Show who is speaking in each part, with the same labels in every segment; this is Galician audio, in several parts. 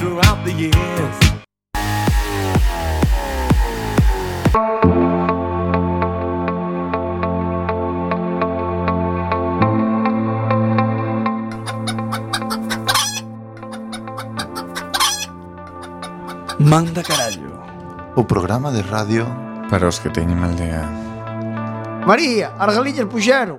Speaker 1: throughout the years.
Speaker 2: Manda carallo.
Speaker 3: O programa de radio
Speaker 4: Para os que teñen mal día.
Speaker 5: María, as galiñas puxeron.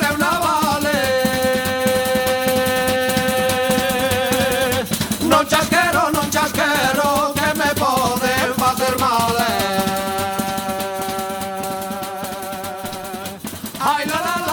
Speaker 6: te una vale. Non chasquero, non chasquero, que me poden facer mal. eh. Ai, la, la, la.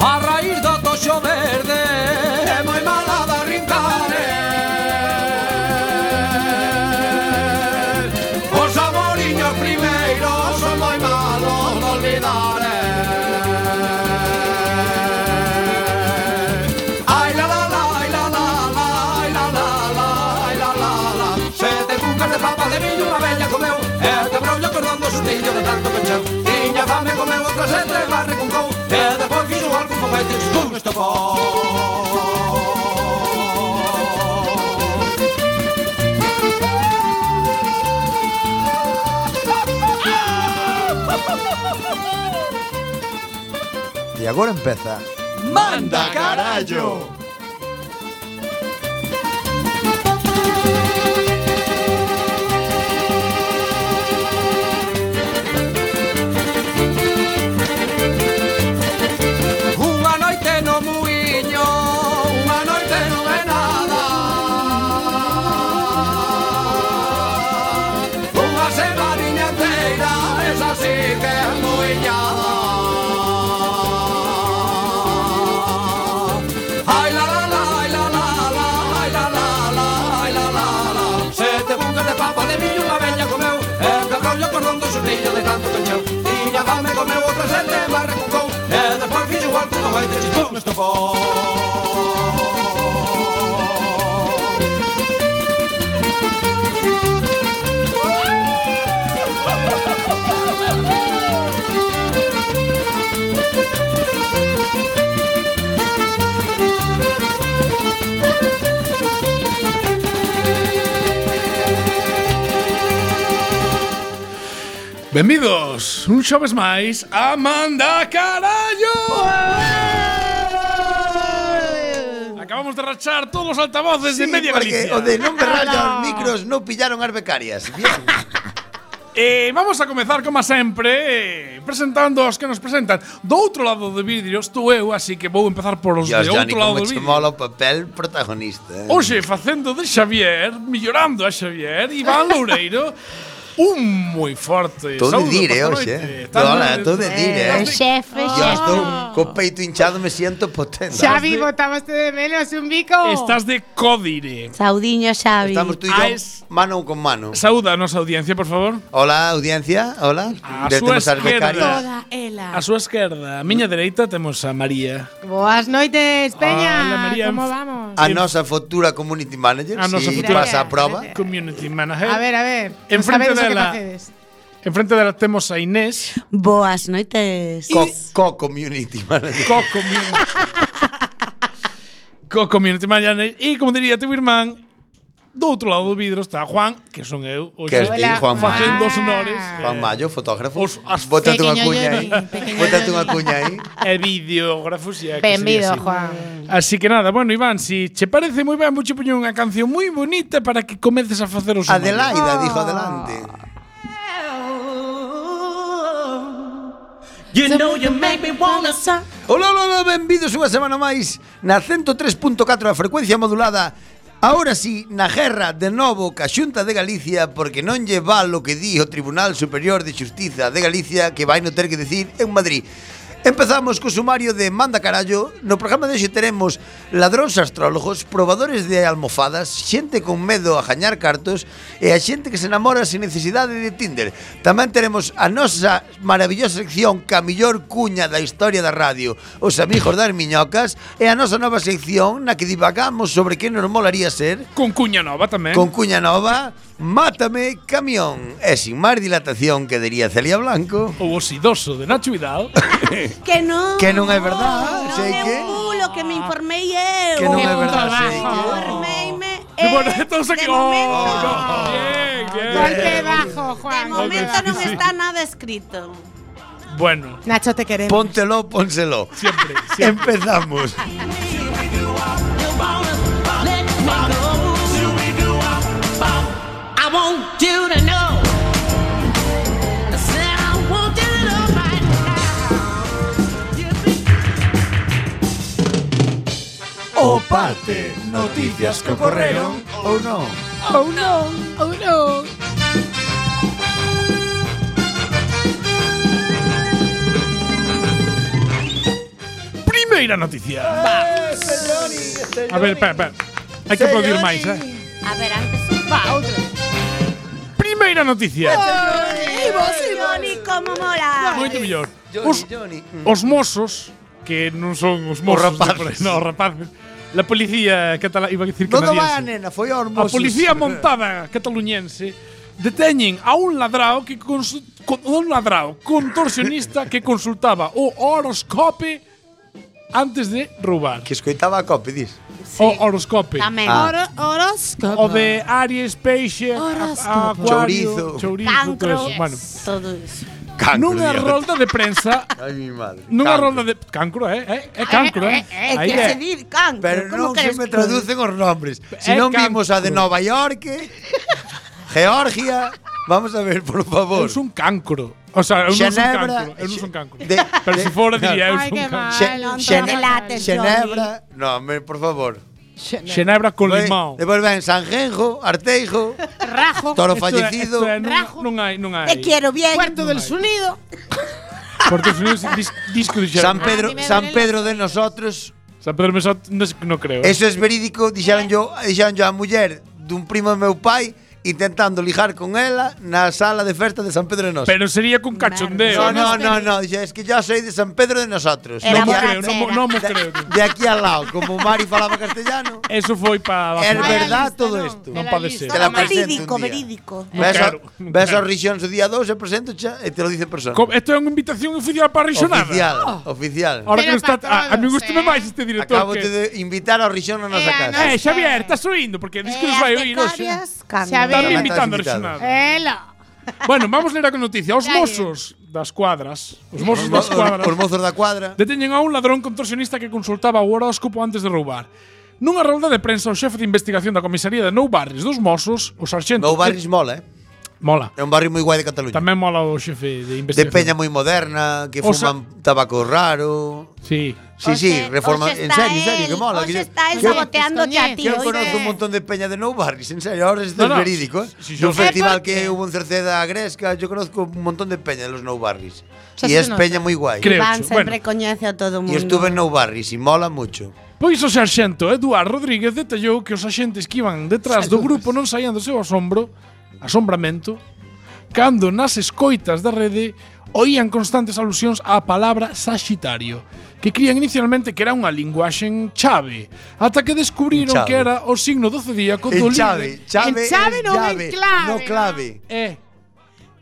Speaker 6: A raíz do toxo verde É moi mala da rincare Os amoriños primeiros Son moi malos de olvidar eh. Ai la la la, ai la la la Ai la la la, ai la la la Sete cucas de papa de millo Unha bella comeu E te brollo cordando sustillo de tanto pecheu Tiña fame comeu outra sete Mas recuncou E depois fixo algún foguete Estou estopou
Speaker 7: E agora empeza
Speaker 6: Manda carallo. Unha noite no muiño, unha noite non é nada. Unha semaniña inteira, esa sí que é muiñada. Ai la la la, ai la la la, ai la la la, ai la la la. Sete bucas de papa de millo unha bella comeu, e que rollo cordón do xurrillo de tanto que encheu. Tiña fame comeu outra sete, mas recucou, e despois fixo igual que non vai ter xipón estopou.
Speaker 8: Benvidos un xoves máis a Manda Carallo Acabamos de rachar todos os altavoces de media
Speaker 5: porque
Speaker 8: Galicia
Speaker 5: o de non berrallo aos micros non pillaron as becarias. Bien.
Speaker 8: Eh, vamos a comezar, como sempre, eh, presentando os que nos presentan Do outro lado do vidrio estou eu, así que vou empezar por os Pues de Oh,
Speaker 5: Dios, Johnny,
Speaker 8: outro lado
Speaker 5: como
Speaker 8: do
Speaker 5: che
Speaker 8: vidrio
Speaker 5: mola o papel protagonista. eh.
Speaker 8: Hoxe, facendo de Xavier, mellorando a Xavier, Iván Loureiro Un moi forte
Speaker 5: Todo de
Speaker 8: saúdo
Speaker 5: dire,
Speaker 8: posta
Speaker 5: hoxe. eh.
Speaker 8: noite. Estás
Speaker 5: Hola,
Speaker 8: de-
Speaker 5: todo de dire, eh.
Speaker 9: o xefe,
Speaker 5: Yo
Speaker 9: xefe.
Speaker 5: estou
Speaker 10: Ah.
Speaker 5: co peito hinchado, me siento potente.
Speaker 10: Xavi, botabaste de menos un bico.
Speaker 8: Estás de codire
Speaker 9: Saudiño Xavi.
Speaker 5: Estamos tú e
Speaker 8: Ah,
Speaker 5: yo
Speaker 8: es-
Speaker 5: mano con mano.
Speaker 8: Saúda a nosa audiencia, por favor.
Speaker 5: Hola, audiencia, hola.
Speaker 8: A
Speaker 5: Ya
Speaker 8: súa
Speaker 5: temos as becarias.
Speaker 8: esquerda.
Speaker 9: Toda ela.
Speaker 10: Ah.
Speaker 8: A súa esquerda, a miña dereita, temos a María. Ah,
Speaker 10: Boas noites,
Speaker 8: Hola,
Speaker 10: Peña.
Speaker 9: Ah,
Speaker 8: María.
Speaker 10: ¿Cómo vamos?
Speaker 5: A nosa futura community manager,
Speaker 8: A nosa
Speaker 5: si
Speaker 8: futura-
Speaker 5: pasa a proba.
Speaker 10: Gracias.
Speaker 8: Community Manager.
Speaker 10: A ver, a ver.
Speaker 8: En
Speaker 10: no
Speaker 8: frente
Speaker 10: sabedes o que
Speaker 8: dela.
Speaker 10: facedes.
Speaker 8: Enfrente dela temos a Inés.
Speaker 9: Boas noites.
Speaker 5: Co- Co-community manager.
Speaker 8: Co-community. Co-community Manager. E, como diría tu irmán, do outro lado do vidro está Juan, que son eu, hoxe,
Speaker 4: Que es ti,
Speaker 10: Hola,
Speaker 4: Juan Mayo.
Speaker 10: Juan.
Speaker 8: facendo os honores.
Speaker 4: Juan Mayo, fotógrafo.
Speaker 8: Os- as-
Speaker 4: Bótate unha
Speaker 10: Pequeño
Speaker 4: cuña aí.
Speaker 10: Johnny, pequeño
Speaker 4: Bótate
Speaker 10: Johnny.
Speaker 4: unha cuña
Speaker 8: e
Speaker 4: aí.
Speaker 8: videógrafos e a que sería
Speaker 10: Bienvenido,
Speaker 8: así.
Speaker 10: Juan.
Speaker 8: Así que nada, bueno, Iván, si che parece moi ben, vouche poñer unha canción moi bonita para que comeces a facer os honores.
Speaker 4: Adelaida dijo adelante.
Speaker 6: You know you make me wanna
Speaker 9: Sa-
Speaker 4: Hola, hola, hola, benvidos unha semana máis na 103.4 da frecuencia modulada. Ahora sí, na guerra de novo ca Xunta de Galicia porque non lle val o que di o Tribunal Superior de Xustiza de Galicia que vai no ter que decir en Madrid. Empezamos co sumario de Manda Carallo. No programa de hoxe teremos ladróns astrólogos, probadores de almofadas, xente con medo a jañar cartos e a xente que se enamora sin necesidade de Tinder. Tamén teremos a nosa maravillosa sección ca mellor cuña da historia da radio, os amigos das miñocas, e a nosa nova sección na que divagamos sobre que nos molaría ser
Speaker 8: Con cuña nova tamén.
Speaker 4: con cuña nova, Mátame Camión. E sin máis dilatación que diría Celia Blanco.
Speaker 8: O osidoso de Nacho Vidal.
Speaker 9: Que non.
Speaker 4: Que non é verdad,
Speaker 9: Non
Speaker 4: sei
Speaker 9: é
Speaker 4: que-
Speaker 9: un bulo que me informei eu.
Speaker 4: Que non é verdad, sei
Speaker 9: Informeime
Speaker 8: E
Speaker 9: eu.
Speaker 8: bueno, entón aquí.
Speaker 9: Eh, de
Speaker 8: Oh,
Speaker 9: momento-
Speaker 8: no. Bien, bien.
Speaker 10: Golpe bajo,
Speaker 9: De
Speaker 10: Juan. golpe
Speaker 9: momento
Speaker 10: bajo.
Speaker 9: non está nada escrito.
Speaker 8: Bueno,
Speaker 10: Nacho, te queremos.
Speaker 4: Póntelo, pónselo.
Speaker 8: siempre, siempre.
Speaker 4: Empezamos.
Speaker 6: I want you to know. I said I want you to know right now. You think
Speaker 4: O parte, noticias que ocorreron ou non.
Speaker 8: Primeira noticia. A ver, espera, espera. Hai que aplaudir máis, eh?
Speaker 9: A ver, antes.
Speaker 8: Primeira noticia.
Speaker 9: Boni, como mola.
Speaker 8: Moito mellor. Os,
Speaker 4: Johnny, Johnny. Mm.
Speaker 8: os mozos, que non son os mozos, de
Speaker 4: rapaces.
Speaker 8: por aí, non, os rapaces. La policía catalá, iba a dicir
Speaker 4: Non va,
Speaker 8: canadiense.
Speaker 4: nena, foi
Speaker 8: A
Speaker 4: aos mozos.
Speaker 8: policía
Speaker 4: eh.
Speaker 8: montada cataluñense deteñen a un ladrao que cons- con, un ladrao contorsionista que consultaba o horoscope antes de roubar.
Speaker 4: Que escoitaba a copi, dis.
Speaker 8: O horoscope.
Speaker 9: Tamén.
Speaker 10: Oro- horóscopo.
Speaker 8: O de Aries, Peixe, a- Acuario,
Speaker 4: Chourizo.
Speaker 8: Chourizo, todo
Speaker 9: Cancro.
Speaker 8: eso. pues, Bueno,
Speaker 9: Todo iso.
Speaker 4: Cancro,
Speaker 8: nunha
Speaker 4: Dios.
Speaker 8: rolda de prensa,
Speaker 4: Ai, mi madre.
Speaker 8: nunha
Speaker 4: Cancro.
Speaker 8: rolda de cancro, eh, eh, é cancro, eh.
Speaker 9: É
Speaker 8: Aí
Speaker 9: que
Speaker 8: é.
Speaker 9: se dir cancro.
Speaker 4: Pero
Speaker 9: como
Speaker 4: non se
Speaker 9: queres
Speaker 4: me
Speaker 9: que-
Speaker 4: traducen os nombres.
Speaker 8: É
Speaker 4: Si non vimos a de
Speaker 8: cancro.
Speaker 4: Nova York, ¿eh? Georgia, vamos a ver, por
Speaker 8: Eu
Speaker 4: favor.
Speaker 8: son cancro. O sea, eu non son
Speaker 4: Xenebra-
Speaker 8: cancro, eu non son cancro.
Speaker 4: De-
Speaker 8: Pero se
Speaker 4: de-
Speaker 8: fora diría eu
Speaker 10: Ai,
Speaker 8: son
Speaker 10: que
Speaker 8: cancro.
Speaker 10: mal.
Speaker 4: Xe- Xene-
Speaker 10: non te
Speaker 9: Xenelates.
Speaker 4: Xenebra. No, me, por favor.
Speaker 8: Xenebra con
Speaker 4: Ve-
Speaker 8: limón.
Speaker 4: Depois ven Sanjenjo, Arteijo,
Speaker 10: Rajo.
Speaker 4: Toro
Speaker 8: Esto é-
Speaker 4: Fallecido.
Speaker 8: esto é, non-
Speaker 10: Rajo.
Speaker 8: Non hai, non hai.
Speaker 9: Te quiero bien.
Speaker 10: Puerto del Sunido.
Speaker 8: Porque os Unidos dis- disco de
Speaker 4: San
Speaker 8: Xenebra.
Speaker 4: Pedro,
Speaker 10: Ah, ni me
Speaker 4: San
Speaker 10: duele.
Speaker 4: Pedro de nosotros.
Speaker 8: San Pedro Mesot non es- non creo. eh.
Speaker 4: Eso es verídico, dixeron yo, dixeron yo a muller dun primo de meu pai intentando lijar con ela na sala de festa de San Pedro de Nos.
Speaker 8: Pero sería con cachondeo.
Speaker 4: no, no, no, no, dixe, es que yo soy de San Pedro de Nosotros.
Speaker 8: Non
Speaker 9: Era
Speaker 8: mo
Speaker 4: de, a-
Speaker 8: creo, non mo- non mo creo. tío.
Speaker 4: de aquí al lado, como Mari falaba castellano.
Speaker 8: Eso foi para
Speaker 4: Es
Speaker 10: Era
Speaker 4: verdad
Speaker 10: lista,
Speaker 4: todo
Speaker 10: non,
Speaker 4: esto.
Speaker 10: era
Speaker 8: Non pode
Speaker 10: lista.
Speaker 8: ser.
Speaker 4: Te la
Speaker 10: Toma.
Speaker 4: presento
Speaker 9: Verídico,
Speaker 4: un día.
Speaker 9: verídico.
Speaker 4: Ves,
Speaker 8: quero,
Speaker 4: a,
Speaker 8: non
Speaker 4: ves
Speaker 8: quero.
Speaker 4: ao Rixións o día 2 e presento xa e te lo dice en persona.
Speaker 8: Co- Esto é unha invitación oficial para Rixonada.
Speaker 4: Oficial, oficial.
Speaker 8: Ahora que
Speaker 10: Pero
Speaker 8: non está,
Speaker 10: pa
Speaker 8: a, a mí
Speaker 10: todos,
Speaker 8: gustame
Speaker 10: eh.
Speaker 8: máis este director
Speaker 4: Acabo
Speaker 8: que...
Speaker 4: de invitar ao Rixión a nosa
Speaker 10: Eh,
Speaker 4: casa.
Speaker 8: Eh,
Speaker 10: non-
Speaker 8: Xavier, estás oindo porque dis que nos vai oír hoxe.
Speaker 10: Xavier.
Speaker 8: Están
Speaker 10: Tamén
Speaker 8: invitando a
Speaker 4: estás
Speaker 8: Rixonada.
Speaker 10: Ela.
Speaker 8: Bueno, vamos ler a noticia. Os
Speaker 10: Dale.
Speaker 8: mozos das cuadras, os mozos
Speaker 4: Os
Speaker 8: das
Speaker 4: mo-
Speaker 8: cuadras,
Speaker 4: Os mozos da cuadra.
Speaker 8: deteñen a un ladrón contorsionista que consultaba o horóscopo antes de roubar. Nunha rolda de prensa, o xefe de investigación da comisaría de Nou Barris dos Mozos, o sarxento...
Speaker 4: No barris mola, eh.
Speaker 8: Mola.
Speaker 4: É un barrio moi guai de Cataluña.
Speaker 8: Tamén mola o xefe de
Speaker 4: de
Speaker 8: investigación.
Speaker 4: peña moi moderna, que
Speaker 8: O sea-
Speaker 4: fuman tabaco raro.
Speaker 8: Sí.
Speaker 4: Sí, sí, reforma. En serio, en serio, que mola. Que
Speaker 9: Hoxe
Speaker 4: yo,
Speaker 9: está el
Speaker 4: que yo-
Speaker 9: saboteándote a
Speaker 10: que
Speaker 9: ti.
Speaker 4: que yo
Speaker 9: oye.
Speaker 4: conozco un montón de peña de Nou Barris, en serio, ahora esto
Speaker 8: No, no,
Speaker 4: es verídico, ¿eh?
Speaker 8: sí, sí,
Speaker 4: de un
Speaker 8: yo- Eh,
Speaker 4: festival
Speaker 10: ¿por qué?
Speaker 4: que hubo en Cerceda a Gresca, yo conozco un montón de peña de los Nou Barris.
Speaker 10: sea,
Speaker 4: y
Speaker 10: se
Speaker 4: es
Speaker 10: nota.
Speaker 4: peña muy guay.
Speaker 8: Creo.
Speaker 9: Iván
Speaker 8: Bueno.
Speaker 9: sempre coñece a todo
Speaker 4: Y
Speaker 9: mundo.
Speaker 4: estuve en Nou Barris y mola mucho.
Speaker 8: Pois o sarxento Eduardo Rodríguez detallou que os axentes que iban detrás do grupo non saían do seu asombro, asombramento, cando nas escoitas da rede oían constantes alusións á palabra saxitario, que crían inicialmente que era unha linguaxe en chave, ata que descubriron
Speaker 4: En chave.
Speaker 8: que era o signo do zodíaco do
Speaker 4: El
Speaker 8: líder.
Speaker 4: Chave, Chave,
Speaker 10: El Chave
Speaker 4: es
Speaker 10: no ven
Speaker 4: llave,
Speaker 10: clave,
Speaker 4: no clave.
Speaker 8: Eh,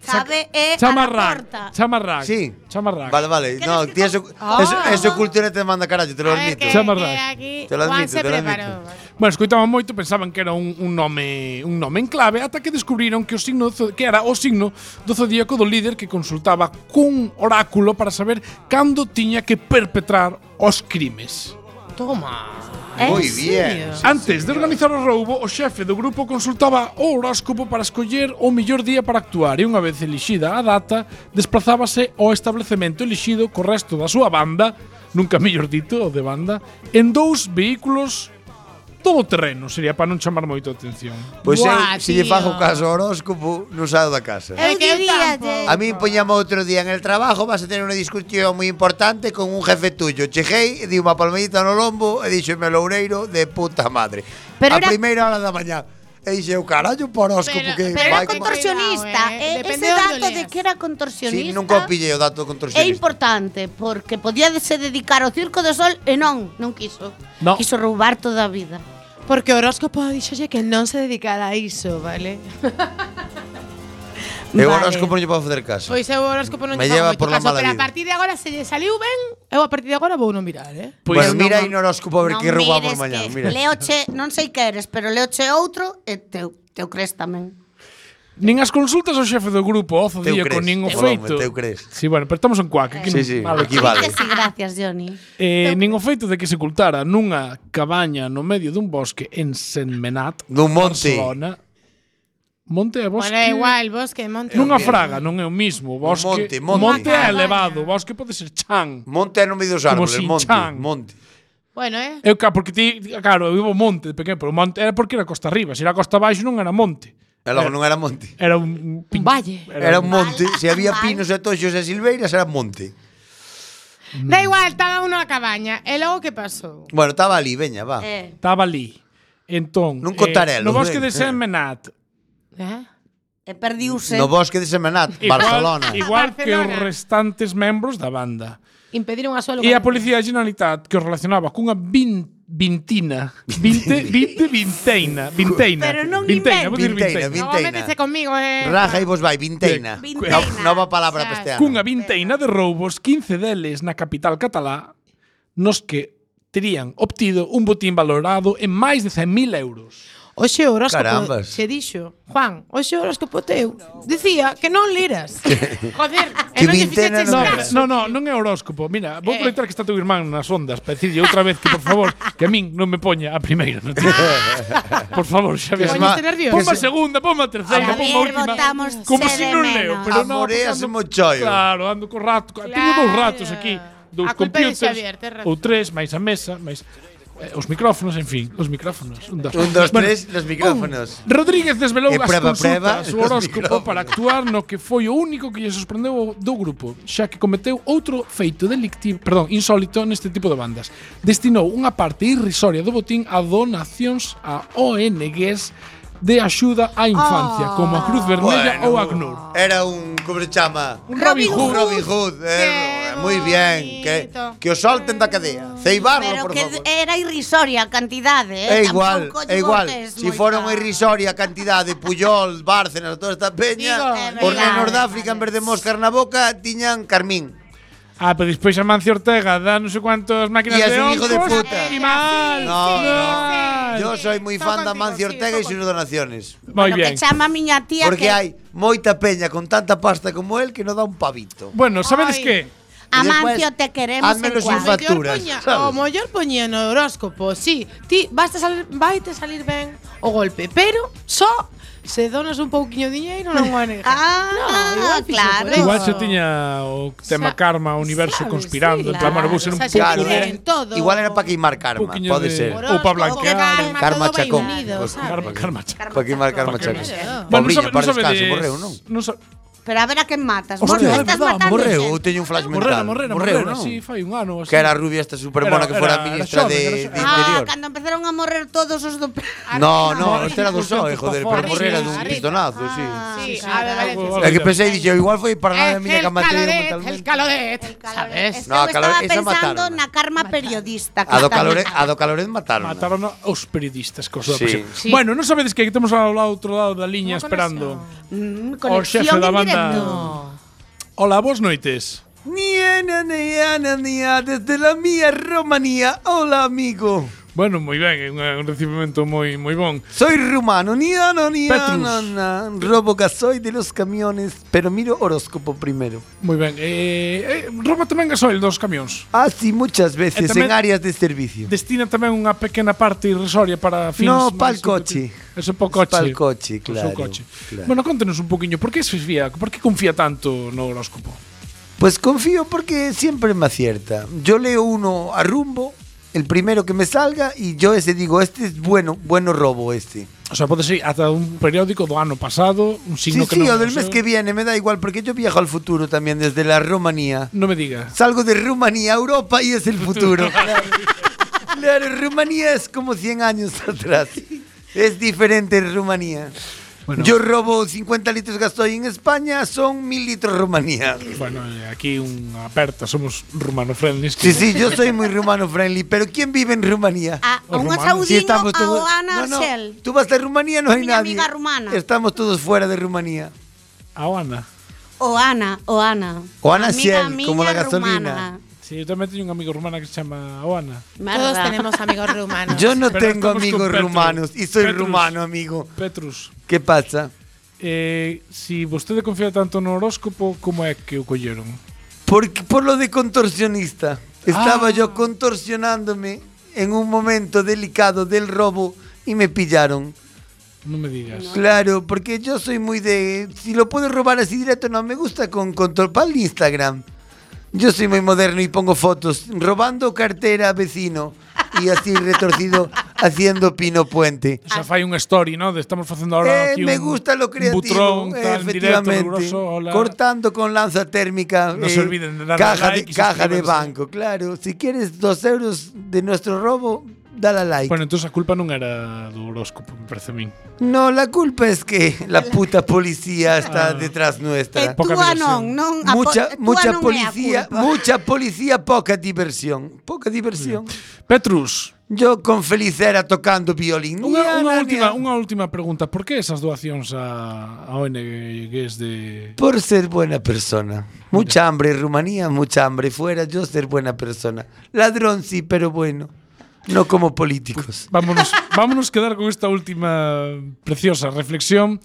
Speaker 9: Sabe é a
Speaker 8: Chamarrac.
Speaker 9: porta.
Speaker 8: Chamarrac.
Speaker 4: Sí.
Speaker 8: Chamarrac.
Speaker 4: Vale, vale.
Speaker 9: ¿Qué
Speaker 4: No,
Speaker 9: necesito?
Speaker 4: tío, eso,
Speaker 10: Ah.
Speaker 4: eso, eso cultura te manda carallo, te lo
Speaker 10: A ver, que,
Speaker 4: admito.
Speaker 8: Chama
Speaker 10: que
Speaker 8: Rack.
Speaker 10: aquí
Speaker 4: Te lo
Speaker 10: Juan
Speaker 4: admito,
Speaker 10: se
Speaker 4: te lo
Speaker 10: preparó.
Speaker 8: Bueno, escoitaban moito, pensaban que era un, un nome un nome en clave ata que descubriron que o signo do zo- que era o signo do zodíaco do líder que consultaba cun oráculo para saber cando tiña que perpetrar os crimes.
Speaker 10: Toma.
Speaker 9: ¿Eh?
Speaker 4: Muy bien.
Speaker 8: Antes de organizar o roubo, o xefe do grupo consultaba o horóscopo para escoller o mellor día para actuar e unha vez elixida a data, desplazábase ao establecemento elixido co resto da súa banda, nunca mellor dito, o de banda, en dous vehículos todo terreno, sería para non chamar moito a atención.
Speaker 4: Pois eu,
Speaker 10: Buah,
Speaker 4: se lle
Speaker 10: tío.
Speaker 4: eh, fajo caso ao horóscopo, non saio da casa.
Speaker 10: É que eu tampo.
Speaker 4: A mí poñamos outro día en el trabajo, vas a tener una discusión moi importante con un jefe tuyo. Chejei, di unha palmadita no lombo e díxeme o loureiro de puta madre. a
Speaker 9: Pero era-
Speaker 4: primeira hora da mañá. E dixe, eu carallo, por horóscopo
Speaker 10: Pero-
Speaker 4: que...
Speaker 9: Pero
Speaker 10: Vai
Speaker 9: era
Speaker 10: con-
Speaker 9: contorsionista.
Speaker 10: Cuidado, eh.
Speaker 9: eh, Ese
Speaker 10: Depende de onde
Speaker 9: dato
Speaker 10: leas.
Speaker 9: de que era
Speaker 4: Sí,
Speaker 9: contorsionista.
Speaker 4: nunca o pillei o dato
Speaker 9: É
Speaker 4: contorsionista.
Speaker 9: importante porque podía se dedicar ao Circo do Sol e non, non quiso.
Speaker 8: No.
Speaker 9: Quiso roubar toda a vida.
Speaker 10: Porque o horóscopo dixolle que non se dedicara a iso, vale?
Speaker 4: Eu o
Speaker 9: Vale.
Speaker 4: horóscopo non lle podo fazer caso.
Speaker 10: Pois eu o horóscopo non
Speaker 4: Me
Speaker 10: lle fago
Speaker 4: lleva
Speaker 10: moito
Speaker 4: por la
Speaker 10: caso,
Speaker 4: mala
Speaker 10: pero a
Speaker 4: vida.
Speaker 10: partir de agora se lle saliu ben, eu Eh, a partir de agora vou non mirar, eh?
Speaker 8: Pois
Speaker 4: bueno,
Speaker 8: non-
Speaker 4: mira aí no horóscopo a ver que roubamos
Speaker 9: mires
Speaker 4: mañá.
Speaker 9: que
Speaker 4: Mira.
Speaker 9: Leoche, non sei que eres, pero leoche outro e teu, teu crees tamén.
Speaker 8: Nin as consultas ao xefe do grupo ao zodíaco
Speaker 4: crees,
Speaker 8: nin o
Speaker 4: teu
Speaker 8: feito.
Speaker 4: nome, teu crees.
Speaker 8: Sí, bueno, pero estamos en cuac, aquí
Speaker 4: Sí, sí,
Speaker 8: vale.
Speaker 4: aquí vale.
Speaker 9: Que sí, gracias, Johnny.
Speaker 8: Eh, nin o feito de que se ocultara nunha cabaña no medio dun bosque en Senmenat,
Speaker 4: Dun monte.
Speaker 8: Barcelona. Monte é bosque.
Speaker 10: Bueno, é igual, bosque, monte.
Speaker 8: Nunha fraga, non é o mismo. O Bosque,
Speaker 4: monte, monte.
Speaker 8: monte é
Speaker 10: Unha cabaña.
Speaker 8: elevado, o bosque pode ser chan.
Speaker 4: Monte é no medio dos
Speaker 8: Como
Speaker 4: árboles,
Speaker 8: sin
Speaker 4: monte,
Speaker 8: chan.
Speaker 4: monte.
Speaker 10: Bueno, eh?
Speaker 8: Eu, ca- porque ti, claro, eu vivo monte de pequeno, pero o monte era porque era costa arriba. Se era costa abaixo non era monte.
Speaker 4: E logo non era monte.
Speaker 8: Era un, pin-
Speaker 10: valle.
Speaker 4: Era un monte, se había
Speaker 9: Vale.
Speaker 4: pinos e toxos e silveiras era monte.
Speaker 10: Da igual, estaba uno a cabaña. E logo que pasou?
Speaker 4: Bueno, estaba ali, veña, va.
Speaker 9: Eh,
Speaker 8: Estaba ali. Entón,
Speaker 4: Nun cotarelo,
Speaker 8: no bosque de
Speaker 4: ben, eh.
Speaker 8: Senmenat,
Speaker 10: Eh?
Speaker 9: e perdiuse.
Speaker 4: No bosque de Semenat,
Speaker 8: Igual-
Speaker 4: Barcelona.
Speaker 8: Igual que
Speaker 10: Barcelona.
Speaker 8: os restantes membros da banda.
Speaker 10: Impediron a súa
Speaker 8: E a Policía da Generalitat que os relacionaba cunha vin, vintina. Vinte, vinte, vinteina. Vinteina.
Speaker 9: Pero non
Speaker 8: vinteina, vou dicir vinteina.
Speaker 4: Vinteina,
Speaker 10: No
Speaker 4: vinteina.
Speaker 10: métese comigo, eh?
Speaker 4: Raja e vos vai, vinteina.
Speaker 9: Vinteina.
Speaker 4: No- Nova palabra para este ano.
Speaker 8: Cunha vinteina de roubos, 15 deles na capital catalá, nos que terían obtido un botín valorado en máis de 100.000 euros.
Speaker 10: Oxe o horóscopo
Speaker 4: Carambas.
Speaker 10: che dixo Juan, oxe o horóscopo teu Dicía que non liras Joder, e
Speaker 4: Que
Speaker 10: non lle
Speaker 4: vintena
Speaker 10: fixeches
Speaker 4: non
Speaker 8: No,
Speaker 10: caso
Speaker 8: no, no, non é horóscopo. Mira, vou
Speaker 10: Eh.
Speaker 8: aproveitar que está teu irmán nas ondas para dicirlle outra vez que, por favor, que a min non me poña a primeira noticia. por favor, Xavier.
Speaker 4: Que
Speaker 10: Poñeste
Speaker 4: ma-
Speaker 10: este nervioso
Speaker 8: Ponme a segunda, ponme a terceira,
Speaker 9: A
Speaker 8: ponme a
Speaker 9: ver,
Speaker 8: última.
Speaker 9: votamos
Speaker 8: como
Speaker 9: se
Speaker 8: si
Speaker 9: de
Speaker 8: non
Speaker 9: menos.
Speaker 8: leo, pero no.
Speaker 4: Amoreas
Speaker 8: porque ando-
Speaker 4: mo choio.
Speaker 8: Claro, ando co rato. Claro. Tengo
Speaker 10: Claro.
Speaker 8: dous ratos aquí. Dous
Speaker 10: A culpa é de
Speaker 8: computers,
Speaker 10: Xavier, tes razón.
Speaker 8: ou tres, máis a mesa, máis eh, os micrófonos, en fin, os micrófonos. Un, dos,
Speaker 4: Un, dos, tres, los micrófonos.
Speaker 8: un. Rodríguez desvelou
Speaker 4: E
Speaker 8: as
Speaker 4: prueba,
Speaker 8: consultas
Speaker 4: prueba,
Speaker 8: o
Speaker 4: los
Speaker 8: horóscopo
Speaker 4: micrófonos.
Speaker 8: para actuar no que foi o único que lle sorprendeu do grupo, xa que cometeu outro feito delictivo, perdón, insólito neste tipo de bandas. Destinou unha parte irrisoria do botín a donacións a ONGs de axuda á infancia, como a Cruz Vermella
Speaker 4: Bueno,
Speaker 8: ou a ACNUR.
Speaker 4: Era un, como se chama?
Speaker 8: Un Robin
Speaker 4: Un
Speaker 8: Hood.
Speaker 4: Robin Hood. eh,
Speaker 10: Qué
Speaker 4: Moi bien. Que,
Speaker 10: bonito.
Speaker 4: que o solten da cadea. Ceibarlo,
Speaker 9: Pero
Speaker 4: por
Speaker 9: que
Speaker 4: favor.
Speaker 9: era irrisoria a cantidade,
Speaker 4: É
Speaker 9: eh?
Speaker 4: igual,
Speaker 9: Tampouco lle
Speaker 4: é igual.
Speaker 9: botes
Speaker 4: Si
Speaker 9: moita-
Speaker 4: fora unha irrisoria cantidad de Puyol, Bárcenas, toda esta
Speaker 10: Digo,
Speaker 4: peña,
Speaker 9: É
Speaker 4: os nenos
Speaker 9: verdade.
Speaker 4: de África en vez de moscar na boca tiñan carmín.
Speaker 8: Ah, pero despois a Mancio Ortega da non sei cuántas máquinas
Speaker 4: Y es
Speaker 8: de
Speaker 4: un hijo de
Speaker 8: hongos.
Speaker 4: puta.
Speaker 8: Y mal.
Speaker 4: No,
Speaker 10: sí.
Speaker 4: Yo soy moi
Speaker 10: Estou
Speaker 4: fan da
Speaker 10: contigo,
Speaker 4: Mancio
Speaker 10: sí,
Speaker 4: Ortega e
Speaker 10: estou
Speaker 4: sus donaciones.
Speaker 8: Moi
Speaker 9: Bueno,
Speaker 8: bien.
Speaker 9: que chama a miña tía
Speaker 4: Porque
Speaker 9: que
Speaker 4: hai moita peña con tanta pasta como él que non dá un pavito.
Speaker 8: Bueno, sabedes
Speaker 10: Ay.
Speaker 8: que?
Speaker 9: Amancio
Speaker 4: después,
Speaker 9: te queremos
Speaker 4: házmelo
Speaker 9: en
Speaker 4: sin
Speaker 9: cuadro.
Speaker 4: fa- facturas, ¿sabes?
Speaker 10: O mollor poñía no horóscopo Si, ti vas a salir, vai te salir ben o golpe Pero só se donas un pouquiño de diñeiro non ONG
Speaker 9: Ah, claro. Pero-
Speaker 8: Igual se tiña o tema
Speaker 10: Sa-
Speaker 8: karma, o universo
Speaker 10: sabes,
Speaker 8: conspirando,
Speaker 10: sí,
Speaker 8: en plan,
Speaker 10: claro,
Speaker 8: bueno, vou ser un
Speaker 10: o sea,
Speaker 8: pouco
Speaker 10: Claro,
Speaker 8: de-
Speaker 10: eh. en todo.
Speaker 4: Igual era para queimar karma,
Speaker 8: Poquiño
Speaker 4: pode
Speaker 8: de-
Speaker 4: ser.
Speaker 8: Ou pa blanquear.
Speaker 4: Karma
Speaker 10: Karma
Speaker 4: Chacón.
Speaker 10: chacón
Speaker 4: Pues,
Speaker 8: Karma, karma, cha-
Speaker 4: Para queimar karma chacas.
Speaker 8: Bueno,
Speaker 10: Claro.
Speaker 8: non
Speaker 4: Pobriña,
Speaker 8: sabe- non
Speaker 4: para descanso,
Speaker 8: sabedes-
Speaker 4: morreu, non?
Speaker 8: non sa-
Speaker 9: Pero a ver a quen matas.
Speaker 8: Hostia,
Speaker 9: Morreu,
Speaker 8: é
Speaker 9: estás
Speaker 8: verdad,
Speaker 9: matando
Speaker 4: Morreu, eu
Speaker 9: xente.
Speaker 4: teño un flash
Speaker 8: Morrera,
Speaker 4: mental.
Speaker 8: morrera,
Speaker 4: Morreu,
Speaker 8: morrera,
Speaker 4: non?
Speaker 8: sí, fai un ano. así.
Speaker 4: Que era a rubia esta
Speaker 8: Era-
Speaker 4: supermona que fora
Speaker 8: era- era
Speaker 4: ministra
Speaker 8: xoven,
Speaker 4: de,
Speaker 8: era
Speaker 4: de
Speaker 8: xoven.
Speaker 9: Ah,
Speaker 4: interior.
Speaker 9: cando empezaron a morrer todos os do...
Speaker 10: Ah,
Speaker 4: No,
Speaker 8: no,
Speaker 4: no, este era do
Speaker 8: incursión
Speaker 4: SOE, joder,
Speaker 8: por
Speaker 4: pero
Speaker 10: favor.
Speaker 4: morrera dun
Speaker 10: Arriba,
Speaker 4: pistonazo, sí.
Speaker 10: Sí,
Speaker 9: sí,
Speaker 10: a ver,
Speaker 8: algo-
Speaker 10: vale.
Speaker 4: É que pensei, dixo, igual foi para nada a miña
Speaker 10: el
Speaker 4: que a matei
Speaker 10: caloret, el
Speaker 4: mentalmente.
Speaker 10: caloret, sabes?
Speaker 9: Es que
Speaker 4: No, a
Speaker 9: eu
Speaker 4: calor-
Speaker 9: estaba
Speaker 4: esa
Speaker 9: pensando
Speaker 4: mataron.
Speaker 9: na karma periodista. que
Speaker 4: A do
Speaker 9: está
Speaker 4: calore, a
Speaker 9: matando.
Speaker 4: do caloret mataron.
Speaker 8: Mataron aos periodistas co súa
Speaker 4: Sí.
Speaker 8: presión. Bueno, non sabedes que aquí temos ao outro lado da liña
Speaker 10: Unha
Speaker 8: esperando
Speaker 4: eh.
Speaker 10: conexión.
Speaker 9: Mm,
Speaker 8: ao
Speaker 9: conexión
Speaker 8: xefe da
Speaker 9: en
Speaker 8: banda
Speaker 10: Correcto.
Speaker 8: Hola, boas noites.
Speaker 5: Niana, niana, niana, desde la mía Romanía. Hola, amigo.
Speaker 8: Bueno, moi ben, é unha- un recibimento moi moi bon.
Speaker 5: Soy rumano, niana, niana,
Speaker 8: Petrus.
Speaker 5: na. Roboca, soy de los camiones, pero miro horóscopo primero.
Speaker 8: Moi ben. Eh, eh, Roma tamén gasoil dos camións.
Speaker 5: Así Ah, muchas veces
Speaker 8: tamén-
Speaker 5: en áreas Eh, de servicio.
Speaker 8: Destina tamén unha pequena parte irrisoria para fins
Speaker 5: No, pa'l
Speaker 8: máis
Speaker 5: coche.
Speaker 8: competitivos. Eso para coche.
Speaker 5: Pa'l coche,
Speaker 8: Pro
Speaker 5: claro,
Speaker 8: seu coche.
Speaker 5: claro.
Speaker 8: Bueno, contenos un poquinho, por que se fía, por que confía tanto no horóscopo?
Speaker 5: Pues confío porque siempre me acierta. Yo leo uno a rumbo, el primero que me salga, y yo ese digo, este es bueno, bueno robo este.
Speaker 8: O sea, pode ser ata un periódico do ano pasado, un signo
Speaker 5: sí,
Speaker 8: que
Speaker 5: sí, o
Speaker 8: non é
Speaker 5: del
Speaker 8: seu.
Speaker 5: mes que viene, me da igual, porque yo viajo al futuro también desde la Rumanía.
Speaker 8: Non me digas.
Speaker 5: Salgo de Rumanía a Europa y es el futuro. claro. Claro, Rumanía es como 100 años atrás. Es diferente Rumanía.
Speaker 8: Bueno.
Speaker 5: Yo robo 50 litros gasoil en España, son 1000 litros Rumanía.
Speaker 8: Bueno, eh, aquí unha aperta, somos rumano friendlies.
Speaker 5: Sí, sí, yo soy muy rumano friendly, pero ¿quién vive en Rumanía?
Speaker 9: A, a
Speaker 8: Os
Speaker 9: un
Speaker 8: romanos.
Speaker 5: Si
Speaker 9: achaudinho
Speaker 5: estamos
Speaker 9: ao
Speaker 5: todos.
Speaker 9: Ana
Speaker 5: No, no,
Speaker 9: Arcel.
Speaker 5: Tú vas a Rumanía, no hay
Speaker 9: Mi
Speaker 5: nadie.
Speaker 9: amiga rumana.
Speaker 5: Estamos todos fuera de Rumanía.
Speaker 8: A Ana.
Speaker 9: O Ana, o Ana.
Speaker 5: O Ana
Speaker 9: Amiga
Speaker 5: Arcel,
Speaker 9: miña
Speaker 5: como la
Speaker 9: rumana.
Speaker 5: gasolina.
Speaker 8: Sí, eu tamén teño un amigo rumana que se chama Oana.
Speaker 10: Todos
Speaker 9: Merda.
Speaker 10: tenemos amigos rumanos.
Speaker 5: Yo no
Speaker 8: Pero
Speaker 5: tengo
Speaker 8: estamos con
Speaker 5: amigos
Speaker 8: Petrus.
Speaker 5: rumanos y soy
Speaker 8: Petrus.
Speaker 5: rumano, amigo.
Speaker 8: Petrus,
Speaker 5: ¿Qué pasa?
Speaker 8: eh, si vostede confía tanto no horóscopo, como é que o colleron?
Speaker 5: Por, por lo de contorsionista. Estaba
Speaker 8: Ah.
Speaker 5: yo contorsionándome en un momento delicado del robo y me pillaron.
Speaker 8: Non me digas.
Speaker 5: Claro, porque yo soy muy de. Si lo puedo robar así directo, no me gusta con control. Para el Instagram. Yo soy muy moderno y pongo fotos. Robando cartera a vecino. Y así retorcido, haciendo pino puente.
Speaker 8: O sea, fai unha story, ¿no? De estamos facendo ahora
Speaker 5: Eh,
Speaker 8: aquí un,
Speaker 5: me gusta lo
Speaker 8: un
Speaker 5: creativo.
Speaker 8: butrón, tal, en directo,
Speaker 5: efectivamente.
Speaker 8: riguroso, hola.
Speaker 5: Cortando con lanza térmica. eh,
Speaker 8: No se olviden de darle
Speaker 5: caja
Speaker 8: like y
Speaker 5: de, caja de
Speaker 8: suscribirse.
Speaker 5: banco. Claro, si quieres dos euros de nuestro robo, dale a like.
Speaker 8: Bueno, entón a culpa non era do horóscopo, me parece a min.
Speaker 5: No, la culpa es que la puta policía está
Speaker 8: Ah.
Speaker 5: detrás nuestra.
Speaker 9: E
Speaker 8: Poca
Speaker 9: túa
Speaker 8: diversión.
Speaker 9: non, non, a po-
Speaker 5: mucha
Speaker 9: túa
Speaker 5: mucha
Speaker 9: non é a
Speaker 5: policía,
Speaker 9: culpa.
Speaker 5: mucha policía, poca diversión, poca diversión.
Speaker 8: Petrus,
Speaker 5: Yo con Felicera tocando violín. Ña,
Speaker 8: unha, unha
Speaker 5: ña,
Speaker 8: última,
Speaker 5: ña.
Speaker 8: unha última pregunta. Por que esas doacións a, a ONGs de...
Speaker 5: Por ser buena persona. Mucha hambre, Rumanía, mucha hambre. Fuera yo ser buena persona. Ladrón sí, pero bueno. No como políticos.
Speaker 8: Vámonos, vámonos quedar con esta última preciosa reflexión.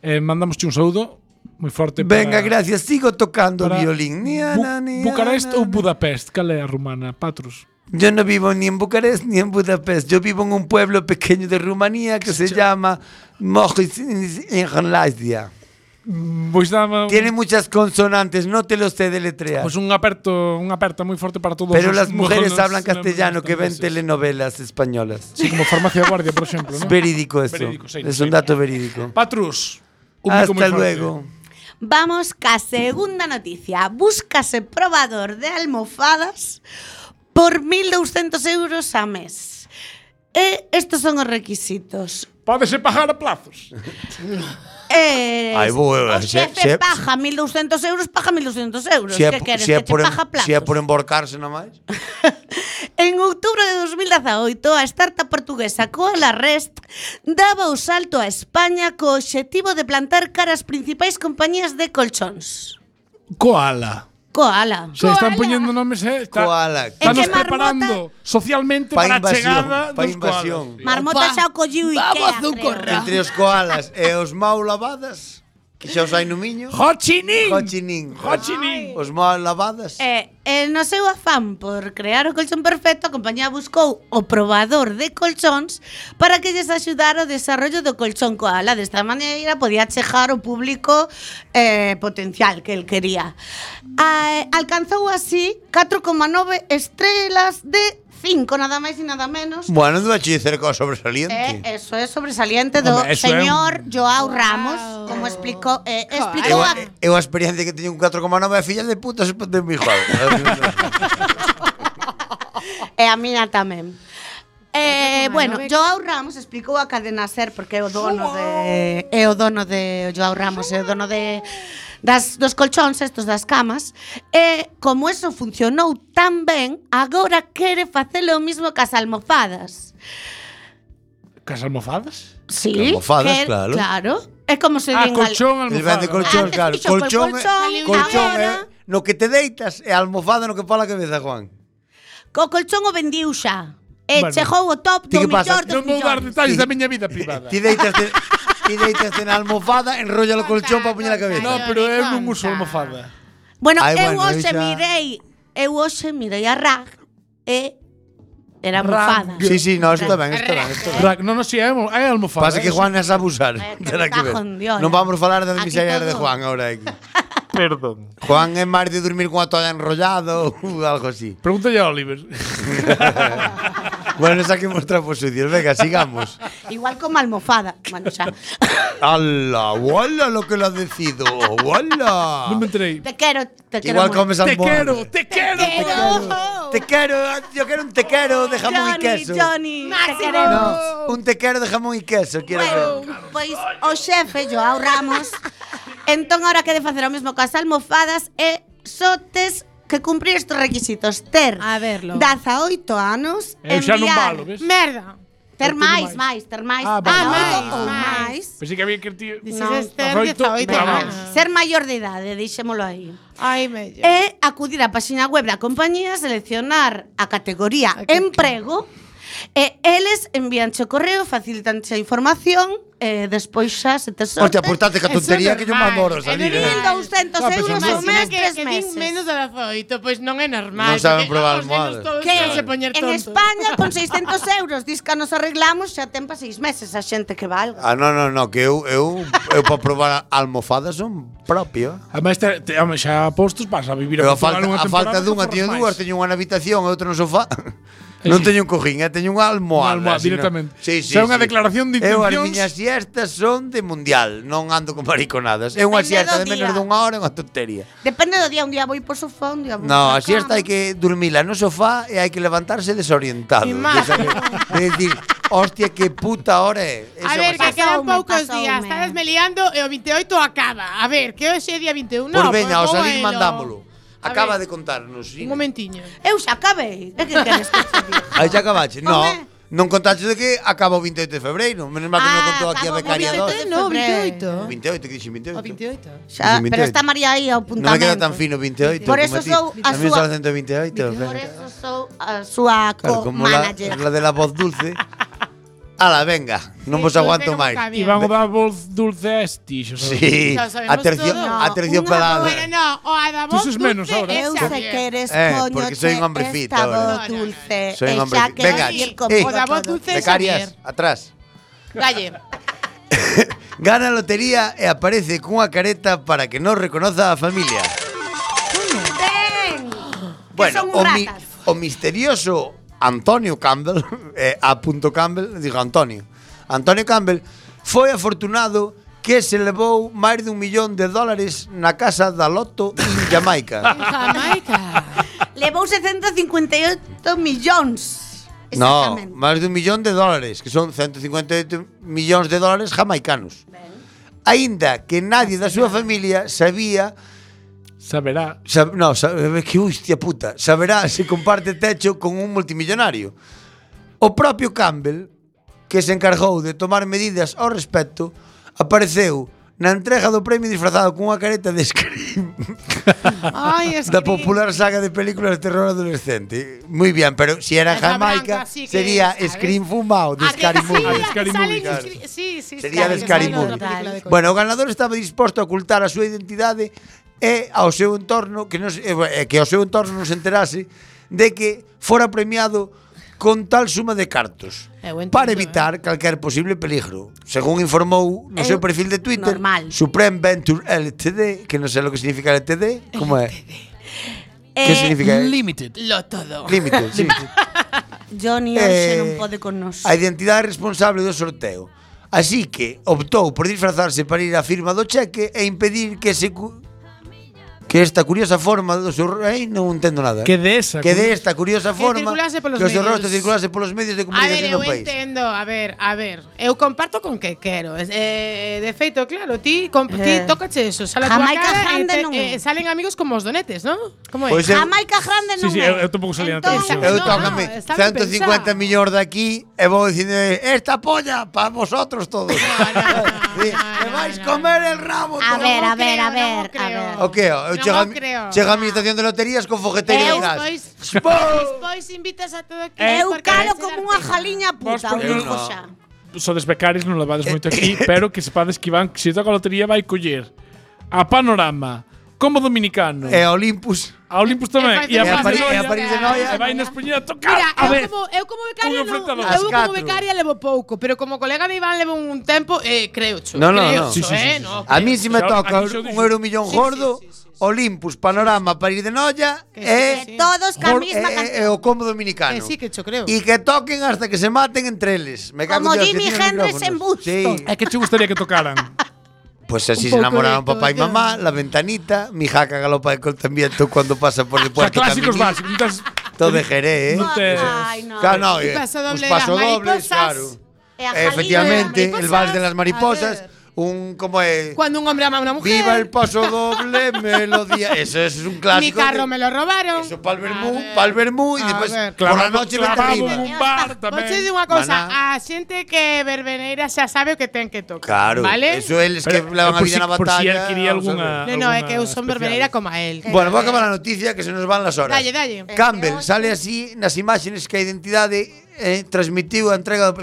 Speaker 8: Eh, mandamos un saúdo moi forte
Speaker 5: Venga,
Speaker 8: para-
Speaker 5: gracias. Sigo tocando
Speaker 8: para
Speaker 5: violín. Ni a
Speaker 8: Bu-
Speaker 5: na, ni a
Speaker 8: Bucarest
Speaker 5: na, na.
Speaker 8: ou Budapest? Cal é a rumana, Patrus?
Speaker 5: Yo no vivo ni en Bucarest ni en Budapest. Yo vivo en un pueblo pequeño de Rumanía que se llama Mojis-Enlandia.
Speaker 8: Pois dama un,
Speaker 5: Tiene muchas consonantes, no te lo sé deletrear.
Speaker 8: pois un aperto, unha aperta moi forte para todos
Speaker 5: Pero
Speaker 8: os
Speaker 5: las mujeres
Speaker 8: monos
Speaker 5: hablan castellano que ven
Speaker 8: neerlandeses.
Speaker 5: telenovelas españolas.
Speaker 8: Sí, como farmacia guardia, por exemplo,
Speaker 5: Es
Speaker 8: ¿no?
Speaker 5: verídico eso.
Speaker 8: Verídico, sí,
Speaker 5: es
Speaker 8: sí.
Speaker 5: un dato verídico.
Speaker 8: Patrus. un bico moi
Speaker 5: Hasta
Speaker 8: forte.
Speaker 5: luego.
Speaker 9: Vamos ca segunda noticia. Búscase probador de almofadas por 1.200 euros a mes. E estes son os requisitos.
Speaker 8: Pódese pagar a plazos.
Speaker 9: Eh,
Speaker 5: Ai, boa,
Speaker 9: o
Speaker 5: se-
Speaker 9: xefe
Speaker 5: se-
Speaker 9: paga 1.200 euros, paga 1.200 euros.
Speaker 5: Si é
Speaker 9: que
Speaker 5: po-
Speaker 9: queres
Speaker 5: si é
Speaker 9: que te
Speaker 5: por em-
Speaker 9: paga plazos?
Speaker 5: si é por emborcarse nomás.
Speaker 9: En outubro de 2018, a startup portuguesa Koala Rest daba o salto a España co obxectivo de plantar cara ás principais compañías de colchóns.
Speaker 8: Koala.
Speaker 9: Koala.
Speaker 8: Se están poñendo nomes, eh? Está,
Speaker 5: Koala.
Speaker 9: É que
Speaker 8: Estamos
Speaker 9: marmota-
Speaker 8: preparando socialmente
Speaker 5: Pa
Speaker 8: para a
Speaker 5: invasión,
Speaker 8: chegada
Speaker 5: pa
Speaker 8: dos
Speaker 5: invasión.
Speaker 8: koalas.
Speaker 9: Marmota
Speaker 10: Opa.
Speaker 9: xa o colliu Ikea,
Speaker 10: Vamos a un
Speaker 9: creo.
Speaker 10: corral.
Speaker 5: Entre os koalas e os mau lavadas, que xa os hai no miño.
Speaker 8: Ho Chi Minh.
Speaker 5: Ho Chi Minh.
Speaker 8: Ho Chi Minh.
Speaker 5: Os mau lavadas.
Speaker 9: E, e Eh, no seu afán por crear o colchón perfecto, a compañía buscou o probador de colchóns para que lles axudara o desarrollo do colchón koala. Desta maneira podía chejar o público eh, potencial que el quería. A, alcanzou así 4,9 estrelas de 5, nada máis e nada menos.
Speaker 5: Bueno, non vai che dicer cosa
Speaker 9: Eh,
Speaker 5: sobresaliente.
Speaker 9: eso é sobresaliente do
Speaker 8: Home, eso é un-
Speaker 9: señor Joao Ramos, como explicou, eh,
Speaker 5: Eu,
Speaker 9: explicou a...
Speaker 5: a- eu a experiencia que teño un 4,9 é filla de puta se de mi joven.
Speaker 9: E a miña tamén. Eh,
Speaker 10: Recomendábame
Speaker 9: bueno,
Speaker 10: que-
Speaker 9: Joao Ramos explicou a cadena Ser porque é o dono de é o dono de Joao Ramos, é o dono de das dos colchóns estos das camas e como eso funcionou tan ben, agora quere facelo o mismo que as almofadas.
Speaker 8: Cas almofadas?
Speaker 9: Sí,
Speaker 5: Que almofadas,
Speaker 9: quer-
Speaker 5: claro.
Speaker 9: claro. É como se di
Speaker 8: Ah,
Speaker 9: en gal-
Speaker 8: colchón
Speaker 5: El vende
Speaker 8: almofada.
Speaker 5: colchón,
Speaker 9: Antes
Speaker 5: claro.
Speaker 9: fixo col
Speaker 5: Colchón,
Speaker 9: colchón,
Speaker 5: é- colchón é
Speaker 9: agora-
Speaker 5: no que te deitas e a almofada no que fala a cabeza, Juan.
Speaker 9: O colchón o vendiu xa. E
Speaker 8: Bueno.
Speaker 9: chegou o top
Speaker 5: Ti
Speaker 9: do
Speaker 5: que
Speaker 9: millor
Speaker 5: pasas?
Speaker 9: dos
Speaker 8: Non vou dar
Speaker 9: millóns.
Speaker 8: detalles da miña vida privada.
Speaker 5: Ti deitaste, ti deitaste na almofada, enrolla o colchón para poñer a
Speaker 8: No,
Speaker 5: cabeza.
Speaker 8: pero eu non
Speaker 10: Conta.
Speaker 8: uso almofada.
Speaker 9: Bueno,
Speaker 5: Ai,
Speaker 9: eu
Speaker 5: bueno, eu
Speaker 9: hoxe
Speaker 5: xa-
Speaker 9: mirei, eu hoxe mirei a Rag e era mofada.
Speaker 5: Sí, sí, no, isto ben, isto ben, isto ben.
Speaker 8: Rack, non, non, si, é almo- é almofada.
Speaker 5: Pasa que
Speaker 8: eh,
Speaker 5: Juan es abusar.
Speaker 9: Eh, que
Speaker 5: Terá que ver.
Speaker 9: cajón de olla.
Speaker 5: Non vamos falar das
Speaker 9: Aquí
Speaker 5: miserias de
Speaker 9: todo.
Speaker 5: Juan ahora aquí.
Speaker 8: Perdón.
Speaker 5: Juan é máis de dormir con a toalla enrollado ou algo así.
Speaker 8: Pregúntale a Oliver.
Speaker 5: Bueno, saquemos trapos sucios. Venga, sigamos.
Speaker 9: Igual como almofada. Bueno, xa.
Speaker 5: ¡Hala! ¡Hola lo que lo has decido!
Speaker 8: non me
Speaker 5: ¡Hola!
Speaker 8: enterei.
Speaker 9: Te quero, te quero.
Speaker 5: Igual
Speaker 9: moito.
Speaker 5: comes
Speaker 8: Te
Speaker 5: almohada.
Speaker 8: quero, te quero.
Speaker 9: Te quero.
Speaker 5: Te quero, yo quiero un te quero de jamón y
Speaker 9: Johnny,
Speaker 5: queso.
Speaker 9: Johnny, te queremos.
Speaker 5: No, un te quero de jamón y queso, quiero
Speaker 9: Bueno,
Speaker 5: ver.
Speaker 9: pois o xefe Joao Ramos entón agora quere facer o mesmo coas almofadas e só tes que cumprir estes requisitos ter
Speaker 10: A verlo.
Speaker 9: 18 anos
Speaker 8: Eu xa non valo, ves?
Speaker 10: Merda.
Speaker 9: ter
Speaker 8: Eu teño
Speaker 9: máis,
Speaker 8: máis.
Speaker 9: máis, ter máis
Speaker 8: Ah, vale.
Speaker 9: oito
Speaker 10: Ah, máis,
Speaker 9: ou
Speaker 10: máis.
Speaker 9: máis
Speaker 8: Pensei que había que ti.
Speaker 10: Dices
Speaker 9: No,
Speaker 10: Esther,
Speaker 8: oito,
Speaker 10: 18
Speaker 8: venga,
Speaker 10: anos.
Speaker 8: vamos.
Speaker 9: ser maior de idade, deixémolo aí
Speaker 10: Ai, mello.
Speaker 9: e acudir á páxina web da compañía, seleccionar a categoría
Speaker 10: A que-
Speaker 9: emprego e eles envíanche o correo, facilitanche a información e despois xa se te sorte.
Speaker 5: Hostia, aportate que a
Speaker 10: Eso
Speaker 5: tontería
Speaker 10: é
Speaker 5: que yo
Speaker 10: normal.
Speaker 5: mando a
Speaker 10: É
Speaker 5: salir, eh.
Speaker 10: de mil-
Speaker 9: 1.200
Speaker 8: Claro,
Speaker 9: euros
Speaker 8: pero
Speaker 9: ao
Speaker 10: Imagina
Speaker 9: mes,
Speaker 10: Ah, que,
Speaker 9: tres
Speaker 10: que din
Speaker 9: meses.
Speaker 10: menos de 18, pois non é normal.
Speaker 5: Non saben
Speaker 10: porque
Speaker 5: probar
Speaker 10: os nenos
Speaker 5: almohadas.
Speaker 10: todos
Speaker 9: Que
Speaker 10: saben se poñer
Speaker 9: en
Speaker 10: tontos.
Speaker 9: España con 600 euros dis que nos arreglamos xa ten pa seis meses a xente que valga.
Speaker 5: Ah, no, no, no, que eu, eu, eu para probar almofadas son propio.
Speaker 8: Ademais, te, te, home, xa postos vas a vivir
Speaker 5: Pero a
Speaker 8: Portugal
Speaker 5: falta,
Speaker 8: unha
Speaker 5: a falta
Speaker 8: temporada,
Speaker 5: dunha
Speaker 8: non
Speaker 5: teño
Speaker 8: forras
Speaker 5: dúas,
Speaker 8: máis.
Speaker 5: teño unha na habitación e outra no sofá. Non
Speaker 8: sí.
Speaker 5: teño un cojín, eh, teño unha almohada.
Speaker 8: Unha almohada,
Speaker 5: sino-
Speaker 8: directamente.
Speaker 5: Sí, sí,
Speaker 8: Xa é unha
Speaker 5: sí.
Speaker 8: declaración de
Speaker 5: Eu as
Speaker 8: intencións.
Speaker 5: miñas siestas son de mundial, non ando con mariconadas. É unha
Speaker 9: Depende
Speaker 5: siesta
Speaker 9: do
Speaker 5: de menos
Speaker 9: día.
Speaker 5: dunha hora, é unha tontería.
Speaker 9: Depende do día, un día vou por sofá, un día vou
Speaker 5: No, a
Speaker 9: pa
Speaker 5: siesta
Speaker 9: cama.
Speaker 5: hai que dormila no sofá e hai que levantarse desorientado.
Speaker 10: Sin máis.
Speaker 5: É dicir, hostia, que puta hora é.
Speaker 10: A ver, que
Speaker 9: pasoume,
Speaker 10: quedan poucos
Speaker 9: pasoume.
Speaker 10: días. Estades me liando e o 28 acaba. A ver, que hoxe é día 21.
Speaker 5: Por
Speaker 10: No,
Speaker 5: veña, ao
Speaker 10: pois
Speaker 5: salir
Speaker 10: moelo.
Speaker 5: mandámolo.
Speaker 10: A
Speaker 5: Acaba de
Speaker 10: ver,
Speaker 5: contarnos.
Speaker 10: Un momentiño.
Speaker 9: Eu xa acabei. É que queres que che diga?
Speaker 5: Aí xa acabache. No,
Speaker 9: Home.
Speaker 5: non contaste de que acaba o 28 de febreiro. Menos mal que non
Speaker 9: Ah,
Speaker 5: contou aquí a
Speaker 9: acaba o
Speaker 5: becaria
Speaker 9: 28
Speaker 5: 2.
Speaker 9: de
Speaker 5: O
Speaker 10: No, 28.
Speaker 5: 28, que dixen 28.
Speaker 10: O 28.
Speaker 9: Xa,
Speaker 5: Dicen
Speaker 9: pero
Speaker 5: 28.
Speaker 9: está María aí
Speaker 5: Non
Speaker 9: ao
Speaker 5: me
Speaker 9: puntamento.
Speaker 5: queda tan fino 28.
Speaker 9: Por eso sou a
Speaker 5: Tamén son
Speaker 9: súa-
Speaker 5: 128.
Speaker 9: Por
Speaker 5: venga.
Speaker 9: eso sou a súa
Speaker 5: Claro, como la,
Speaker 9: co-manager.
Speaker 5: la de la voz dulce. Ala, venga, non vos pues
Speaker 10: Sí,
Speaker 5: aguanto
Speaker 10: non tengo
Speaker 5: máis.
Speaker 10: cambio.
Speaker 8: E van a dar voz dulce a esti, xa sabes.
Speaker 5: Sí,
Speaker 10: Xa o sabemos
Speaker 5: a tercio,
Speaker 10: todo.
Speaker 5: a tercio
Speaker 9: Unha
Speaker 5: pelada.
Speaker 10: Bueno, no, o a da
Speaker 8: Tú
Speaker 10: voz
Speaker 8: sos menos
Speaker 10: dulce
Speaker 8: ahora.
Speaker 10: é
Speaker 9: Eu
Speaker 10: xa
Speaker 9: se
Speaker 10: bien.
Speaker 9: queres
Speaker 5: Eh,
Speaker 9: coño
Speaker 5: porque soy un hombre fit
Speaker 9: esta
Speaker 5: ahora.
Speaker 9: voz
Speaker 10: No, no, no.
Speaker 9: dulce.
Speaker 5: Soy un
Speaker 9: e
Speaker 5: hombre
Speaker 9: xa
Speaker 5: fit.
Speaker 9: queres
Speaker 5: Venga,
Speaker 9: ir
Speaker 5: eh,
Speaker 9: conmigo
Speaker 10: o da voz
Speaker 9: todo.
Speaker 10: dulce
Speaker 5: Becarias, atrás.
Speaker 10: Dalle.
Speaker 5: Gana a lotería e aparece cunha careta para que non reconoza a familia.
Speaker 9: Ben.
Speaker 5: Bueno,
Speaker 9: son
Speaker 5: o, mi,
Speaker 9: ratas.
Speaker 5: o misterioso Antonio Campbell, eh, a punto Campbell, digo Antonio. Antonio Campbell foi afortunado que se levou máis dun millón de dólares na casa da Loto en Jamaica.
Speaker 10: Jamaica.
Speaker 9: Levou 758 millóns.
Speaker 5: no,
Speaker 9: Exactamente.
Speaker 5: máis dun millón de dólares, que son 158 millóns de dólares jamaicanos. Aínda que nadie da súa familia sabía
Speaker 8: Saberá.
Speaker 5: Sab- no, sabes que hostia puta, saberá se comparte techo con un multimillonario. O propio Campbell, que se encargou de tomar medidas ao respecto, apareceu na entrega do premio disfrazado cunha careta de Scream
Speaker 10: Ai, es
Speaker 5: da popular saga de películas de terror adolescente. Moi bien, pero se era en
Speaker 10: Esa
Speaker 5: Jamaica,
Speaker 10: blanca, sí que
Speaker 5: sería
Speaker 10: es, ¿sabes? Ah,
Speaker 5: Scream fumado de Scary Movie.
Speaker 8: Scary Movie, claro.
Speaker 10: Sí, sí,
Speaker 5: Sería de
Speaker 10: que
Speaker 5: Scary
Speaker 10: sale outra
Speaker 5: Movie.
Speaker 10: película de
Speaker 5: Bueno, o ganador estaba disposto a ocultar a súa identidade e ao seu entorno que non se- e, bueno, e que ao seu entorno non se enterase de que fora premiado con tal suma de cartos
Speaker 10: É Eh, buen
Speaker 5: para
Speaker 10: truco,
Speaker 5: evitar calquer posible peligro. Según informou no seu
Speaker 10: Eh,
Speaker 9: Eu-
Speaker 5: perfil de Twitter,
Speaker 9: normal.
Speaker 5: Supreme Venture LTD, que non sei lo que significa LTD, como é? Que
Speaker 9: Eh,
Speaker 5: significa?
Speaker 8: Limited.
Speaker 10: Lo todo.
Speaker 5: Límite, sí.
Speaker 9: Johnny hoxe
Speaker 5: Eh,
Speaker 9: non pode con nós.
Speaker 5: A identidade responsable do sorteo. Así que optou por disfrazarse para ir á firma do cheque e impedir que se cu- que esta curiosa forma do seu rei non entendo nada.
Speaker 8: Que de esa.
Speaker 5: que de esta curiosa
Speaker 10: Que
Speaker 5: forma
Speaker 10: circulase polos
Speaker 5: que o seu
Speaker 10: medios.
Speaker 5: rostro circulase polos medios de
Speaker 10: A ver,
Speaker 5: comunicación do
Speaker 10: eu
Speaker 5: país.
Speaker 10: entendo, a ver, a ver. Eu comparto con que quero. Es- Eh, de feito, claro, ti, comp ti
Speaker 9: Eh.
Speaker 10: tócache eso, sale a tua
Speaker 9: Jamaica
Speaker 10: cara e
Speaker 9: Grande
Speaker 10: te-
Speaker 9: non.
Speaker 10: eh, salen amigos como os donetes, ¿no? Como é?
Speaker 5: Pois eu,
Speaker 9: Jamaica Grande
Speaker 8: Sí,
Speaker 9: non
Speaker 8: sí, eh,
Speaker 9: é.
Speaker 8: eu- eu tampouco salía na
Speaker 9: Entón,
Speaker 10: televisión.
Speaker 5: eu
Speaker 10: no,
Speaker 5: tócame
Speaker 10: no, está ben
Speaker 5: 150
Speaker 10: pensado.
Speaker 5: millóns de aquí e vou dicindo esta polla para vosotros todos.
Speaker 10: no,
Speaker 5: Sí,
Speaker 10: no,
Speaker 5: Me
Speaker 10: no,
Speaker 5: vais
Speaker 10: no,
Speaker 5: comer el rabo. todos.
Speaker 9: A ver,
Speaker 10: non
Speaker 9: a ver,
Speaker 10: creo,
Speaker 9: a ver,
Speaker 10: non
Speaker 9: a
Speaker 10: creo.
Speaker 9: ver.
Speaker 5: O que? ó,
Speaker 10: Non
Speaker 5: eh, Chega, a
Speaker 10: o
Speaker 5: mi-
Speaker 10: creo.
Speaker 5: chega a mi estación de loterías con fogueteiro
Speaker 9: Eu-
Speaker 5: de gas.
Speaker 10: Pois-
Speaker 5: Pou!
Speaker 10: Pois invitas a todo aquí.
Speaker 9: Eu
Speaker 10: porque
Speaker 9: calo
Speaker 10: vai ser
Speaker 9: como unha
Speaker 10: artista.
Speaker 9: jaliña
Speaker 8: Eh, Vos
Speaker 9: puta, o
Speaker 8: porque
Speaker 5: non-
Speaker 9: digo xa.
Speaker 8: Sodes becarios, non levades
Speaker 5: Eh,
Speaker 8: moito aquí, pero que sepades que Iván, que se toca a lotería, vai coller a Panorama, como dominicano,
Speaker 5: E Olympus.
Speaker 8: a Olympus tamén, e
Speaker 10: E
Speaker 8: a París,
Speaker 10: a Pari-
Speaker 8: e
Speaker 5: e a París de Noia.
Speaker 8: vai nos poñer a tocar
Speaker 10: Mira,
Speaker 8: a
Speaker 10: eu
Speaker 8: ver.
Speaker 10: como, eu como becaria,
Speaker 8: Un enfrente a
Speaker 10: non,
Speaker 8: dos.
Speaker 5: As
Speaker 10: eu como
Speaker 5: catro.
Speaker 10: becaria levo pouco, pero como colega de Iván levo un tempo, eh, creo cho.
Speaker 5: No, no, no.
Speaker 10: creo
Speaker 5: Sí,
Speaker 10: cho,
Speaker 8: sí,
Speaker 10: eh,
Speaker 8: sí, sí,
Speaker 10: no,
Speaker 5: A mí si me
Speaker 8: Xa,
Speaker 5: toca
Speaker 8: aquí xa
Speaker 5: un
Speaker 8: dixo.
Speaker 5: euro millón
Speaker 10: Sí, sí,
Speaker 5: gordo,
Speaker 10: sí, sí, sí.
Speaker 5: Olympus, Panorama, París de Noia
Speaker 10: Que
Speaker 5: e...
Speaker 10: sí.
Speaker 9: Todos ca
Speaker 5: Jor-
Speaker 9: mesma
Speaker 5: e-
Speaker 9: canción.
Speaker 5: e- e o combo dominicano.
Speaker 10: Que sí, que cho creo.
Speaker 5: Y que toquen hasta que se maten entre eles. Me cago
Speaker 9: Como
Speaker 5: en Dios, que
Speaker 9: Jimi
Speaker 5: tienen
Speaker 9: Hendrix
Speaker 5: micrófonos.
Speaker 9: en Busto.
Speaker 5: Sí.
Speaker 8: É eh, que te gustaría que tocaran.
Speaker 5: Pues así
Speaker 10: Un
Speaker 5: se
Speaker 10: poco
Speaker 5: enamoraron
Speaker 10: de
Speaker 5: papá y
Speaker 10: todo.
Speaker 5: mamá, la ventanita, mi jaca galopa de contamiento cuando pasa por el
Speaker 8: O sea,
Speaker 5: puerto.
Speaker 8: clásicos
Speaker 5: Caminí.
Speaker 8: básicos. entonces,
Speaker 5: Todo de Jerez, ¿eh?
Speaker 8: No te-
Speaker 9: Ay, no.
Speaker 5: Claro, no,
Speaker 10: Y
Speaker 5: eh,
Speaker 10: paso doble
Speaker 5: os
Speaker 10: de las
Speaker 5: pasodobles,
Speaker 10: mariposas.
Speaker 5: claro.
Speaker 9: E a jaliña.
Speaker 5: Efectivamente, el vals de las
Speaker 10: A
Speaker 5: mariposas,
Speaker 10: ver.
Speaker 5: un como es
Speaker 10: Cuando un hombre ama a una mujer.
Speaker 5: Viva el paso doble, melodía. Eso, eso es un
Speaker 10: Mi
Speaker 5: clásico.
Speaker 10: carro
Speaker 5: de-
Speaker 10: me lo robaron.
Speaker 5: Eso pa'l vermú,
Speaker 10: A ver.
Speaker 5: pa'l vermú y
Speaker 10: A
Speaker 5: después
Speaker 10: ver.
Speaker 5: por la noche vete
Speaker 8: clavamos
Speaker 5: arriba.
Speaker 8: un bar
Speaker 10: Vou che
Speaker 8: tamén.
Speaker 10: Pues digo unha cousa,
Speaker 5: Maná.
Speaker 10: a xente que verbeneira xa sabe o que ten que tocar,
Speaker 5: Claro,
Speaker 10: vale?
Speaker 5: eso es que
Speaker 8: Pero, eh,
Speaker 5: levan a
Speaker 8: por
Speaker 5: vida
Speaker 8: si-
Speaker 5: en la
Speaker 8: por si
Speaker 5: batalla.
Speaker 8: adquiría
Speaker 5: vamos a ver.
Speaker 8: alguna-
Speaker 10: No, no, é que eu
Speaker 8: Alguna
Speaker 10: son verbeneira
Speaker 8: especial.
Speaker 10: como a él.
Speaker 5: Bueno, vou acabar a noticia que se nos van las horas.
Speaker 10: Dalle, dalle.
Speaker 5: Campbell sale así nas imaxes que a identidade eh, transmitiu a entrega do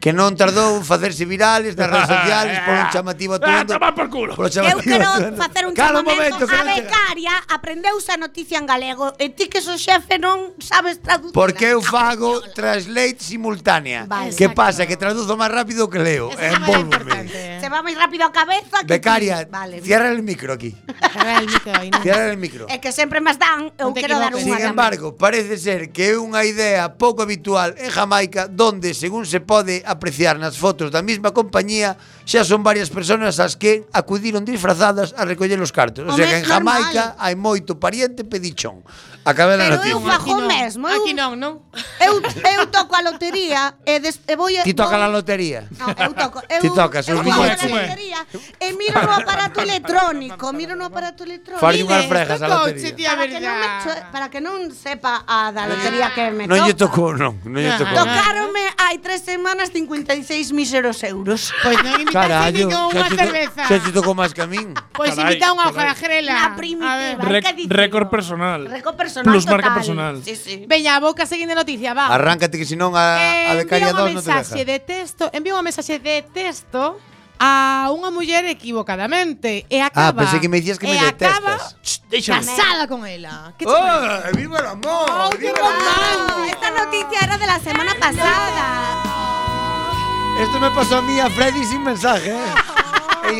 Speaker 5: que non tardou en facerse virales nas redes sociales por un chamativo
Speaker 8: Ah,
Speaker 5: atuendo.
Speaker 8: tomar por culo.
Speaker 5: Por un
Speaker 9: Eu
Speaker 5: chamativo
Speaker 9: quero
Speaker 5: atuendo.
Speaker 9: facer un
Speaker 5: Cala
Speaker 9: chamamento
Speaker 5: momento, que
Speaker 9: a
Speaker 5: non chega.
Speaker 9: becaria aprendeuse a noticia en galego e ti que so xefe non sabes traducir.
Speaker 5: Porque eu fago translate simultánea.
Speaker 9: Vale.
Speaker 5: Que pasa? Que traduzo máis rápido que leo.
Speaker 10: Esa é a importante. ¿eh?
Speaker 5: Envólvome.
Speaker 9: Eh. Se va moi rápido a cabeza que
Speaker 5: Becaria,
Speaker 9: ti. Vale.
Speaker 5: cierra el micro aquí.
Speaker 10: Era el mito aí, non?
Speaker 5: Cierra el micro.
Speaker 9: É que sempre máis dan, eu
Speaker 10: Non te
Speaker 9: quero dar
Speaker 10: equivoques.
Speaker 9: unha
Speaker 5: Sin
Speaker 10: Guardameta.
Speaker 5: embargo, parece ser que é unha idea pouco habitual en Jamaica donde, según se pode apreciar nas fotos da mesma compañía, xa son varias persoas as que acudiron disfrazadas a recoller os cartos. O
Speaker 9: Home,
Speaker 5: sea que en
Speaker 9: é normal.
Speaker 5: Jamaica hai moito pariente pedichón. Acabé na
Speaker 9: Pero eu
Speaker 5: noticia.
Speaker 9: fago o mesmo. Eu,
Speaker 10: Aquí non, non?
Speaker 9: eu, eu toco a lotería e, des, e vou...
Speaker 5: Ti toca
Speaker 9: vou-
Speaker 5: a lotería.
Speaker 9: No, eu toco. Eu,
Speaker 5: Ti tocas os
Speaker 9: eu toco a
Speaker 5: billetes.
Speaker 9: lotería e miro no aparato electrónico, miro no aparato electrónico.
Speaker 5: Farlle unhas frejas á
Speaker 10: Couche,
Speaker 5: lotería.
Speaker 10: tía,
Speaker 9: para que non me cho-
Speaker 10: verdad.
Speaker 9: para que non sepa a da lotería que me
Speaker 5: Non lle
Speaker 9: toca.
Speaker 5: tocou, non, non lle
Speaker 10: Ah.
Speaker 5: tocou.
Speaker 9: Tocárome hai tres semanas 56 míseros euros.
Speaker 10: Pois non invitaste nin con
Speaker 5: xa
Speaker 10: unha
Speaker 5: che to-
Speaker 10: cerveza.
Speaker 5: xa che tocou máis que a min.
Speaker 10: Pois
Speaker 8: Carai,
Speaker 10: invita unha
Speaker 8: carai.
Speaker 10: hojarajrela.
Speaker 9: Na
Speaker 10: A ver.
Speaker 9: primitiva.
Speaker 8: Rec-
Speaker 9: que dicimos.
Speaker 8: récord personal.
Speaker 9: Récord personal
Speaker 8: Plus
Speaker 9: total.
Speaker 8: marca personal.
Speaker 9: Sí, sí.
Speaker 10: Veña, boca seguinte noticia, va.
Speaker 5: Arráncate que senón
Speaker 10: Eh,
Speaker 5: a, a becaria 2 non
Speaker 10: envía unha
Speaker 5: te
Speaker 10: mensaxe
Speaker 5: deja.
Speaker 10: de texto, envía unha mensaxe de texto a unha muller equivocadamente e acaba
Speaker 5: pensei Ah, que me dicías que
Speaker 10: e
Speaker 5: me
Speaker 10: acaba
Speaker 5: detestas.
Speaker 10: ch, casada con ela. Que che parece?
Speaker 5: ¡Oh! ¡Viva el amor! ¡Viva el
Speaker 9: Ah, Esta noticia era de la semana pasada.
Speaker 5: Esto me pasó a mí a Freddy sin mensaje. ¿eh?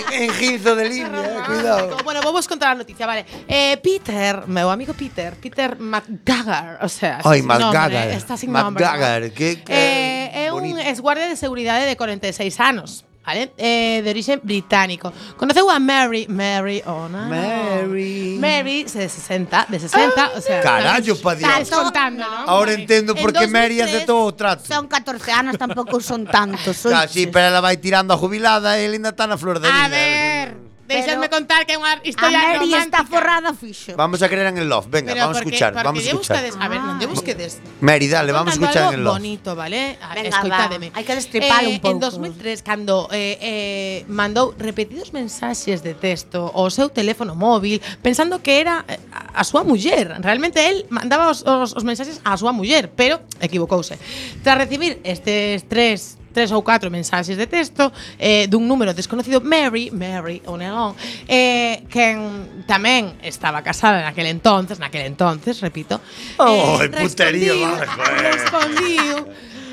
Speaker 5: en, en Ginzo de línea, eh, cuidado.
Speaker 10: Ah, Bueno, vamos contar a noticia, vale. Eh, Peter, meu amigo Peter, Peter McGagar, o sea,
Speaker 5: Ay,
Speaker 10: sin nombre,
Speaker 5: McGagar,
Speaker 10: está sin nombre.
Speaker 5: McGagar, que- que
Speaker 10: Eh, é un
Speaker 5: bonito.
Speaker 10: exguardia de seguridade de 46 anos, vale? Eh, de orixe británico. Conoceu a Mary, Mary, oh, no.
Speaker 5: Mary.
Speaker 10: Mary, se- de 60, de 60, o sea.
Speaker 5: Carallo, pa Dios.
Speaker 10: Estás contando, ¿no?
Speaker 5: Ahora entiendo por qué Mary hace todo o trato.
Speaker 9: Son 14 anos, tampouco son tantos.
Speaker 5: Ah, sí,
Speaker 9: oiches.
Speaker 5: pero ela vai tirando a jubilada e linda tan a flor de vida.
Speaker 10: A ver, déjame
Speaker 9: Pero-
Speaker 10: contar que é
Speaker 9: A
Speaker 10: unha historia
Speaker 9: Mary está
Speaker 10: romántica.
Speaker 9: forrada, fixo.
Speaker 5: Vamos a creer en el love, venga,
Speaker 10: Pero
Speaker 5: vamos a
Speaker 10: porque-
Speaker 5: escuchar,
Speaker 10: porque
Speaker 5: vamos a
Speaker 10: lle
Speaker 5: escuchar.
Speaker 10: buscades- a ver, non lle
Speaker 9: Ah.
Speaker 10: busquedes.
Speaker 5: Mary, dale, vamos a
Speaker 10: Contando
Speaker 5: escuchar en el
Speaker 10: algo
Speaker 5: love.
Speaker 10: bonito, vale? A-
Speaker 9: Venga,
Speaker 10: Escoitádeme.
Speaker 9: va, hai que destripalo
Speaker 10: Eh,
Speaker 9: un pouco.
Speaker 10: En 2003, cando eh, eh, mandou repetidos mensaxes de texto ao seu teléfono móvil, pensando que era eh, a a súa muller. Realmente el mandaba os, os, os mensaxes á súa muller, pero equivocouse. Tras recibir estes tres tres ou catro mensaxes de texto eh, dun número desconocido Mary, Mary Onegon eh, quen tamén estaba casada naquel entonces, naquel entonces, repito
Speaker 5: Oh,
Speaker 10: eh,
Speaker 5: putería, vale,
Speaker 10: respondiu-
Speaker 5: joder.
Speaker 10: Respondiu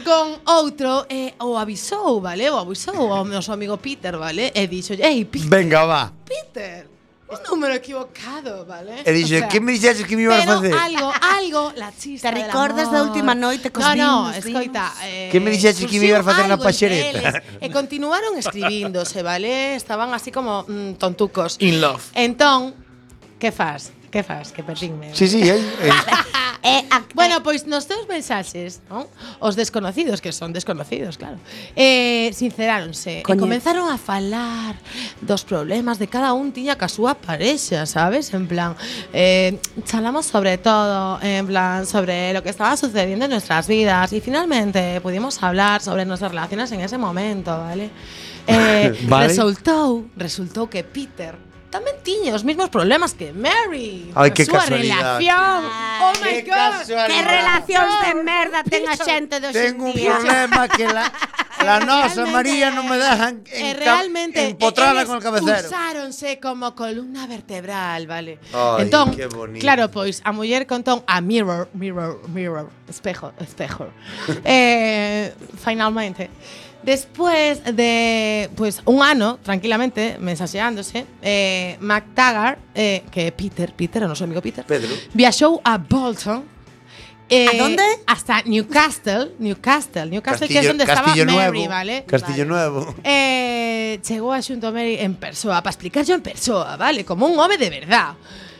Speaker 10: con outro eh, o avisou, vale? O avisou ao noso amigo Peter, vale? E dixo, ei, Peter,
Speaker 5: Venga, va.
Speaker 10: Peter, un número equivocado, vale?
Speaker 5: E dixo,
Speaker 10: O sea,
Speaker 5: que me dixeches que me ibas a
Speaker 10: pero
Speaker 5: facer?
Speaker 10: algo, algo, la chista
Speaker 9: Te
Speaker 10: del
Speaker 9: recordas
Speaker 10: amor.
Speaker 9: da última noite cos
Speaker 10: No, no,
Speaker 9: vinos,
Speaker 10: escoita
Speaker 9: vinos?
Speaker 10: eh,
Speaker 5: Que me dixeches que me iba a facer na
Speaker 10: surxiu algo
Speaker 5: paxereta?
Speaker 10: entre eles E continuaron escribíndose, vale? Estaban así como mm, tontucos
Speaker 8: In love.
Speaker 10: Entón, Que fas? Que fas? Que pertinme.
Speaker 5: Sí, sí, aí. eh,
Speaker 9: Eh, ac-
Speaker 10: Bueno, pues pois nos teus mensaxes, non? Os desconocidos, que son desconocidos, claro eh, Sinceráronse E
Speaker 9: Coñez.
Speaker 10: comenzaron a falar dos problemas de cada un tiña ca súa parexa, sabes? En plan, eh, chalamos sobre todo En plan, sobre lo que estaba sucediendo en nuestras vidas Y finalmente pudimos hablar sobre nuestras relaciones en ese momento, vale? Eh,
Speaker 7: Vale.
Speaker 10: Resultou, resultou que Peter tamén tiña os mesmos problemas que Mary
Speaker 5: Ai,
Speaker 10: na
Speaker 5: que
Speaker 10: súa
Speaker 5: casualidade.
Speaker 10: relación Oh my
Speaker 5: Que
Speaker 9: que
Speaker 10: god
Speaker 5: casualidade.
Speaker 9: relacións de merda ten a xente dos
Speaker 5: Tengo un problema que la, la nosa
Speaker 10: Realmente,
Speaker 5: María no me dejan
Speaker 10: eh,
Speaker 5: enca-
Speaker 10: realmente
Speaker 5: empotrarla con el cabecero.
Speaker 10: Usáronse como columna vertebral, vale.
Speaker 5: Ay,
Speaker 10: entón,
Speaker 5: qué bonito.
Speaker 10: claro, pois a muller contón a mirror, mirror, mirror, espejo, espejo. eh, finalmente Despois de pues, un ano, tranquilamente, mensaxeándose, eh, MacTaggart, eh, que é Peter, Peter, o noso amigo Peter,
Speaker 5: Pedro.
Speaker 10: viaxou a Bolton, eh,
Speaker 9: ¿A dónde?
Speaker 10: Hasta Newcastle, Newcastle, Newcastle, que é onde estaba
Speaker 5: Castillo Nuevo,
Speaker 10: Mary, vale?
Speaker 5: Castillo
Speaker 10: Vale.
Speaker 5: Nuevo.
Speaker 10: Eh, chegou a Xunto Mary en persoa Para explicarlo en persoa, vale? Como un home de verdad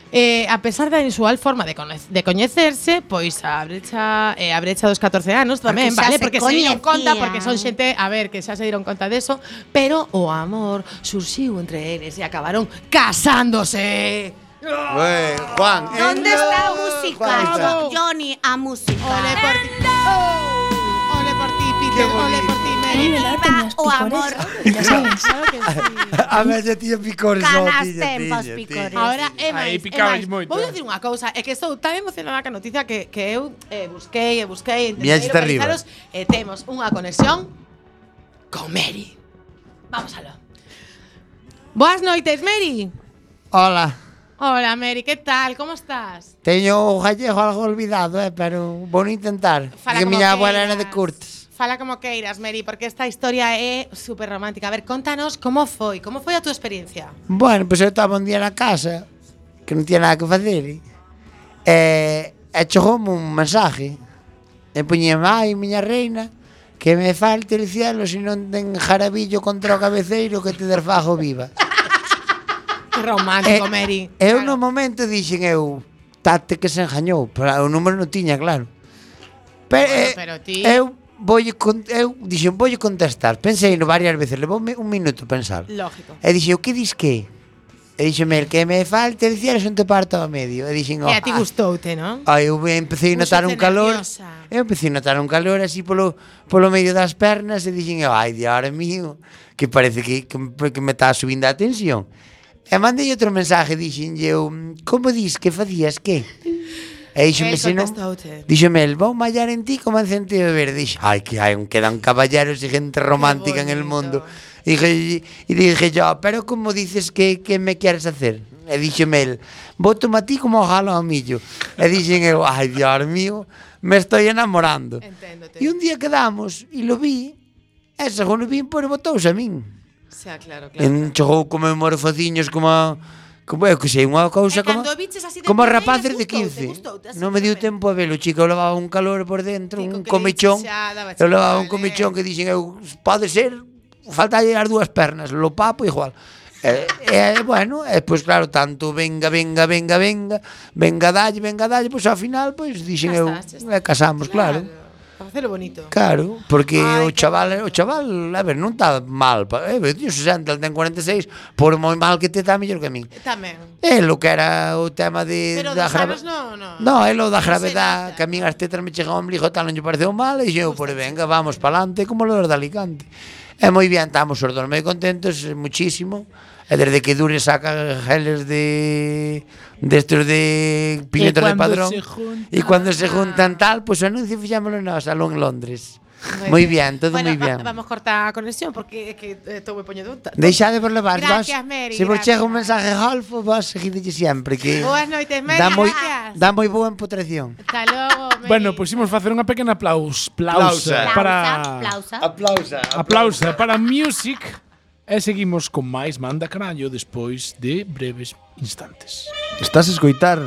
Speaker 10: Eh, a pesar da inusual forma de, conoc- de coñecerse, pois a brecha eh, a brecha dos 14 anos tamén,
Speaker 9: Porque xa
Speaker 10: vale?
Speaker 9: se
Speaker 10: Porque se dieron conta,
Speaker 9: coñecían.
Speaker 10: porque son xente, a ver, que xa se dieron conta deso, pero o amor surxiu entre eles e acabaron casándose.
Speaker 5: Ué, Juan.
Speaker 9: ¿Dónde
Speaker 5: eh,
Speaker 9: está a
Speaker 5: no,
Speaker 9: música?
Speaker 5: Juan está.
Speaker 10: Bravo.
Speaker 9: Johnny, a música.
Speaker 10: Ole pues, por ti. Ole por ti, Peter. Ole por ti, Mary.
Speaker 9: Viva o amor.
Speaker 10: Claro que sí.
Speaker 5: A ver, ya tiña picores. no,
Speaker 9: Canas
Speaker 5: tiña,
Speaker 9: tempos
Speaker 5: tiña,
Speaker 9: picores.
Speaker 5: tiña.
Speaker 10: Ahora é máis,
Speaker 8: Aí
Speaker 10: é
Speaker 8: picabais
Speaker 10: máis.
Speaker 8: moito,
Speaker 10: Vou
Speaker 8: eh.
Speaker 10: dicir unha cousa, é que estou tan emocionada ca noticia que, que eu eh, busquei e busquei, intentei
Speaker 5: Viaxes de arriba.
Speaker 10: localizaros, e temos unha conexión con Mary. Vamos aló. Boas noites, Mary.
Speaker 5: Hola.
Speaker 10: Hola, Mary, que tal? Como estás?
Speaker 5: Teño o gallego algo olvidado, eh, pero vou intentar.
Speaker 10: Fala
Speaker 5: que
Speaker 10: como
Speaker 5: miña abuela
Speaker 10: queiras.
Speaker 5: era de Curtis.
Speaker 10: Fala como queiras, Mary, porque esta historia é super romántica. A ver, contanos como foi, como foi a túa experiencia.
Speaker 5: Bueno, pois eu estaba un día na casa que non tiña nada que facer e, e chegoume un mensaje e poñeme, ai, miña reina que me falte el cielo se non ten jarabillo contra o cabeceiro que te desfajo viva
Speaker 10: Que romántico,
Speaker 5: Eh,
Speaker 10: Mary.
Speaker 5: Eu no
Speaker 10: Claro.
Speaker 5: momento dixen eu tate que se engañou, pero o número non tiña, claro. Pero,
Speaker 10: Bueno,
Speaker 5: eh,
Speaker 10: pero ti-
Speaker 5: eu volle con, eu dixen volle contestar. Pensei no varias veces, levoume un minuto pensar.
Speaker 10: Lógico.
Speaker 5: E dixen, o que dis que? E dixenme, el que me falte el cielo xunte parto ao medio. E dixen,
Speaker 10: E a ti
Speaker 5: "Ah".
Speaker 10: gustoute, non?
Speaker 5: Aí eu empecé a notar un
Speaker 10: Púxote
Speaker 5: calor.
Speaker 10: nerviosa.
Speaker 5: Eu empecé a notar un calor así polo, polo medio das pernas e dixen, eu, ai, dios mío, que parece que, que, me- que me está subindo a tensión. E mandei outro mensaje, dixen, eu, como dis que facías que? E dixome,
Speaker 10: El
Speaker 5: se non...
Speaker 10: contestou-te.
Speaker 5: Dixome, el vou mallar en ti como en sentido verde. Dixo, ai, que hai, quedan caballeros e gente romántica en el mundo. E dije, e dije yo, pero como dices que, que me queres hacer? E dixome el, voto-me a ti como jalo ao millo. E dixen eu, ai, dios mío, me estoy enamorando.
Speaker 10: Enténdote.
Speaker 5: E un día quedamos e lo vi, e según lo vi, pois botouse a min.
Speaker 10: Xa, claro, claro.
Speaker 5: En chegou como morfociños, como... Como eu que sei, unha cousa
Speaker 10: E
Speaker 5: como...
Speaker 10: cando viches así de
Speaker 5: Como
Speaker 10: primeira,
Speaker 5: rapaces de 15.
Speaker 10: gustoute, gustoute, así
Speaker 5: Non me diu
Speaker 10: de
Speaker 5: tempo a velo, chica, eu levaba un calor por dentro,
Speaker 10: Tico
Speaker 5: un
Speaker 10: que
Speaker 5: comichón.
Speaker 10: dices, xa, daba
Speaker 5: Eu levaba un
Speaker 10: chapale.
Speaker 5: comichón que dixen, eu pode ser, falta as dúas pernas, lo papo igual. E, e bueno, e pois claro, tanto venga, venga, venga, venga, venga dalle, venga dalle, pois ao final pois dixen
Speaker 10: Xa
Speaker 5: eu,
Speaker 10: está, xa
Speaker 5: e
Speaker 10: está.
Speaker 5: casamos, claro.
Speaker 10: Para facelo bonito.
Speaker 5: Claro, porque
Speaker 10: Ai,
Speaker 5: o
Speaker 10: que
Speaker 5: chaval, o chaval, a ver, non está mal, pa- eh, eu teño 60, el ten 46, por moi mal que te está mellor que a min.
Speaker 10: Tamén.
Speaker 5: É lo que era o tema de Eh,
Speaker 10: Pero
Speaker 5: da
Speaker 10: dos
Speaker 5: grava-
Speaker 10: anos non, non.
Speaker 5: No, é lo da
Speaker 10: Non se
Speaker 5: gravedade,
Speaker 10: nota.
Speaker 5: que a min as tetas me chegaban ao ombligo tal, non lle pareceu mal, e dixen, pois venga, vamos pa'lante, como lo de Alicante. E moi bien, estamos os dos moi contentos, eh, muchísimo, e desde que dure saca geles de destos de piñetos de
Speaker 8: cuando
Speaker 5: padrón.
Speaker 8: se juntan.
Speaker 5: E cando se juntan tal, pois pues, o anuncio fixámoslo no salón en Londres. Moi bien, todo
Speaker 10: bueno,
Speaker 5: moi bien.
Speaker 10: va- Vamos cortar a conexión porque é que estou moi poñendo un ta-
Speaker 5: Deixade por levar,
Speaker 10: Gracias,
Speaker 5: vos,
Speaker 10: Meri,
Speaker 5: se vos
Speaker 10: gracias.
Speaker 5: chega un mensaje golfo, vos seguidelle sempre que
Speaker 10: Boas noites, Mary.
Speaker 5: dá moi
Speaker 10: gracias.
Speaker 5: dá moi boa empotración.
Speaker 10: Hasta logo, Mary.
Speaker 8: Bueno,
Speaker 5: pues
Speaker 8: pois imos facer unha pequena aplaus, plausa,
Speaker 5: Plausa.
Speaker 8: para
Speaker 9: Plausa, plausa.
Speaker 5: Aplausa.
Speaker 8: aplausa para Music e seguimos con máis Manda Carallo despois de breves instantes.
Speaker 7: Estás a escoitar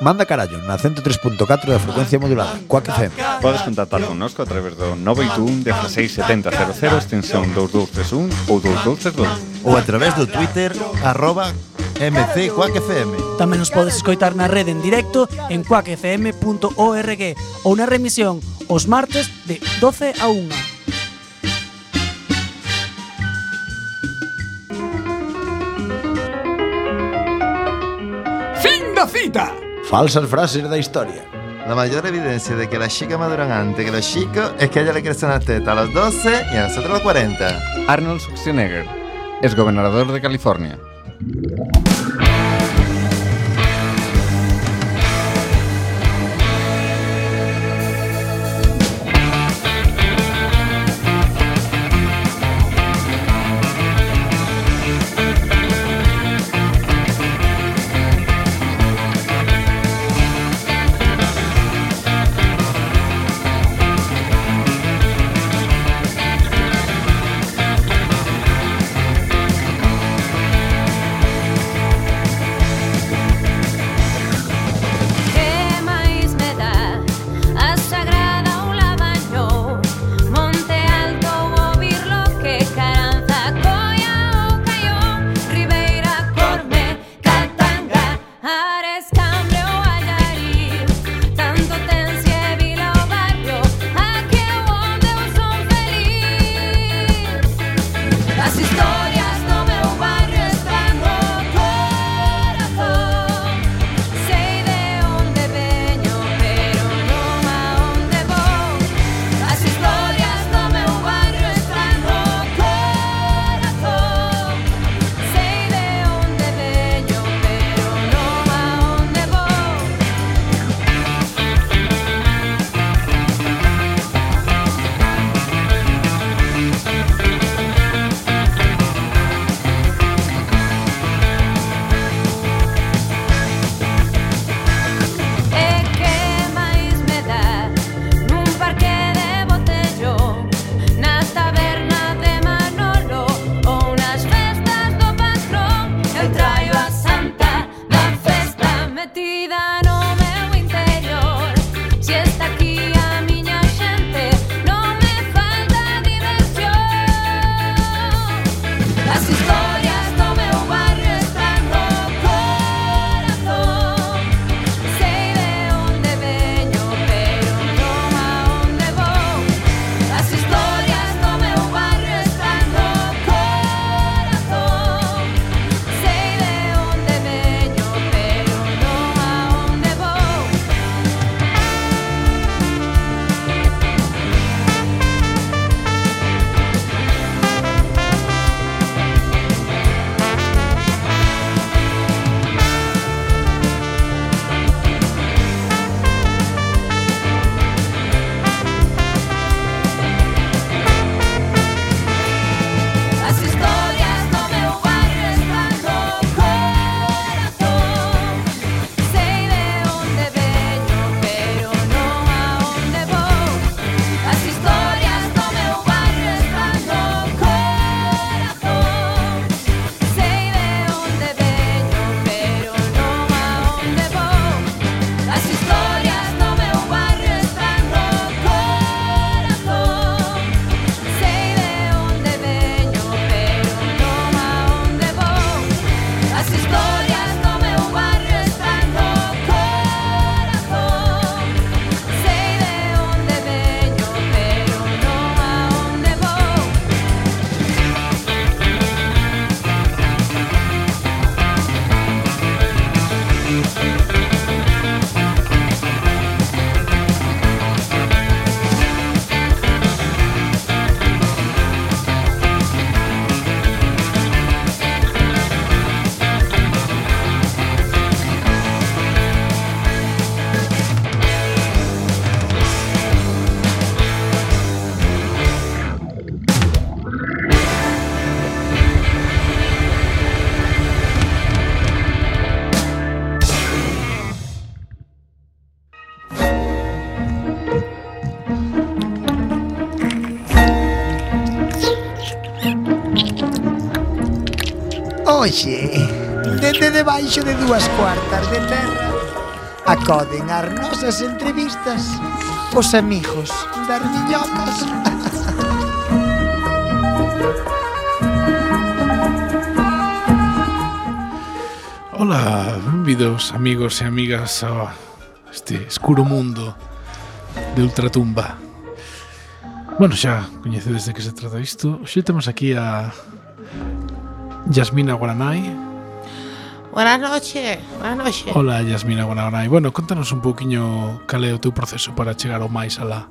Speaker 7: Manda Carallo na 103.4 da frecuencia modulada Coac FM
Speaker 4: Podes contactar connosco a través do 921 1670 00 extensión 2231 ou 2232
Speaker 3: Ou a través do Twitter arroba
Speaker 4: MC Quack FM.
Speaker 6: Tamén nos podes escoitar na rede en directo en quackfm.org ou na remisión os martes de 12 a 1.
Speaker 8: Fin da cita.
Speaker 11: Falsas frases da historia.
Speaker 4: La mayor evidencia de que las chicas maduran antes que los chicos es que a ella le crecen las tetas a los 12 y a nosotros a los 40.
Speaker 12: Arnold Schwarzenegger es gobernador de California.
Speaker 10: Que máis me dá a Sagrada ou Labañou Monte Alto ou Birloque Caranza, Coia ou Caión Ribeira, Corme, Catanga Ares, Cambre ou Allariz Tanto tense Vila ou Barrio Aquí eu onde eu son feliz As historias do meu barrio están no corazón Sei de onde veño, pero non aonde vou As historias do meu barrio están no corazón Sei de onde veño, pero non aonde vou E que máis me dá Nun parque de botellón Na taberna de Manolo Ou nas festas do patrón Eu traio a santa da festa Metida no meu interior Se está aquí a miña xente Non me falta diversión As historias do meu barrio están no corazón Sei de onde veño, pero non aonde vou As historias do meu barrio están no corazón Sei de onde veño, pero non aonde vou As historias do meu barrio están no corazón Sei de onde veño, pero non aonde vou As historias do meu barrio están no corazón Sei de onde veño, pero non aonde vou As historias do meu barrio están no corazón Sei de onde veño, pero non aonde vou As historias do meu barrio están no corazón Sei de onde veño, pero non aonde vou
Speaker 7: Oxe, desde debaixo de dúas cuartas de terra acoden as nosas entrevistas os amigos das miñocas.
Speaker 8: Ola, benvidos amigos e amigas a este escuro mundo de ultratumba. Bueno, xa coñecedes de que se trata isto. Xe temos aquí a Yasmina Guaranai.
Speaker 10: Buenas noches, buenas noches.
Speaker 8: Ola, Yasmina Guaranai. Bueno, contanos un pouquiño cal é o teu proceso para chegar ao máis alá.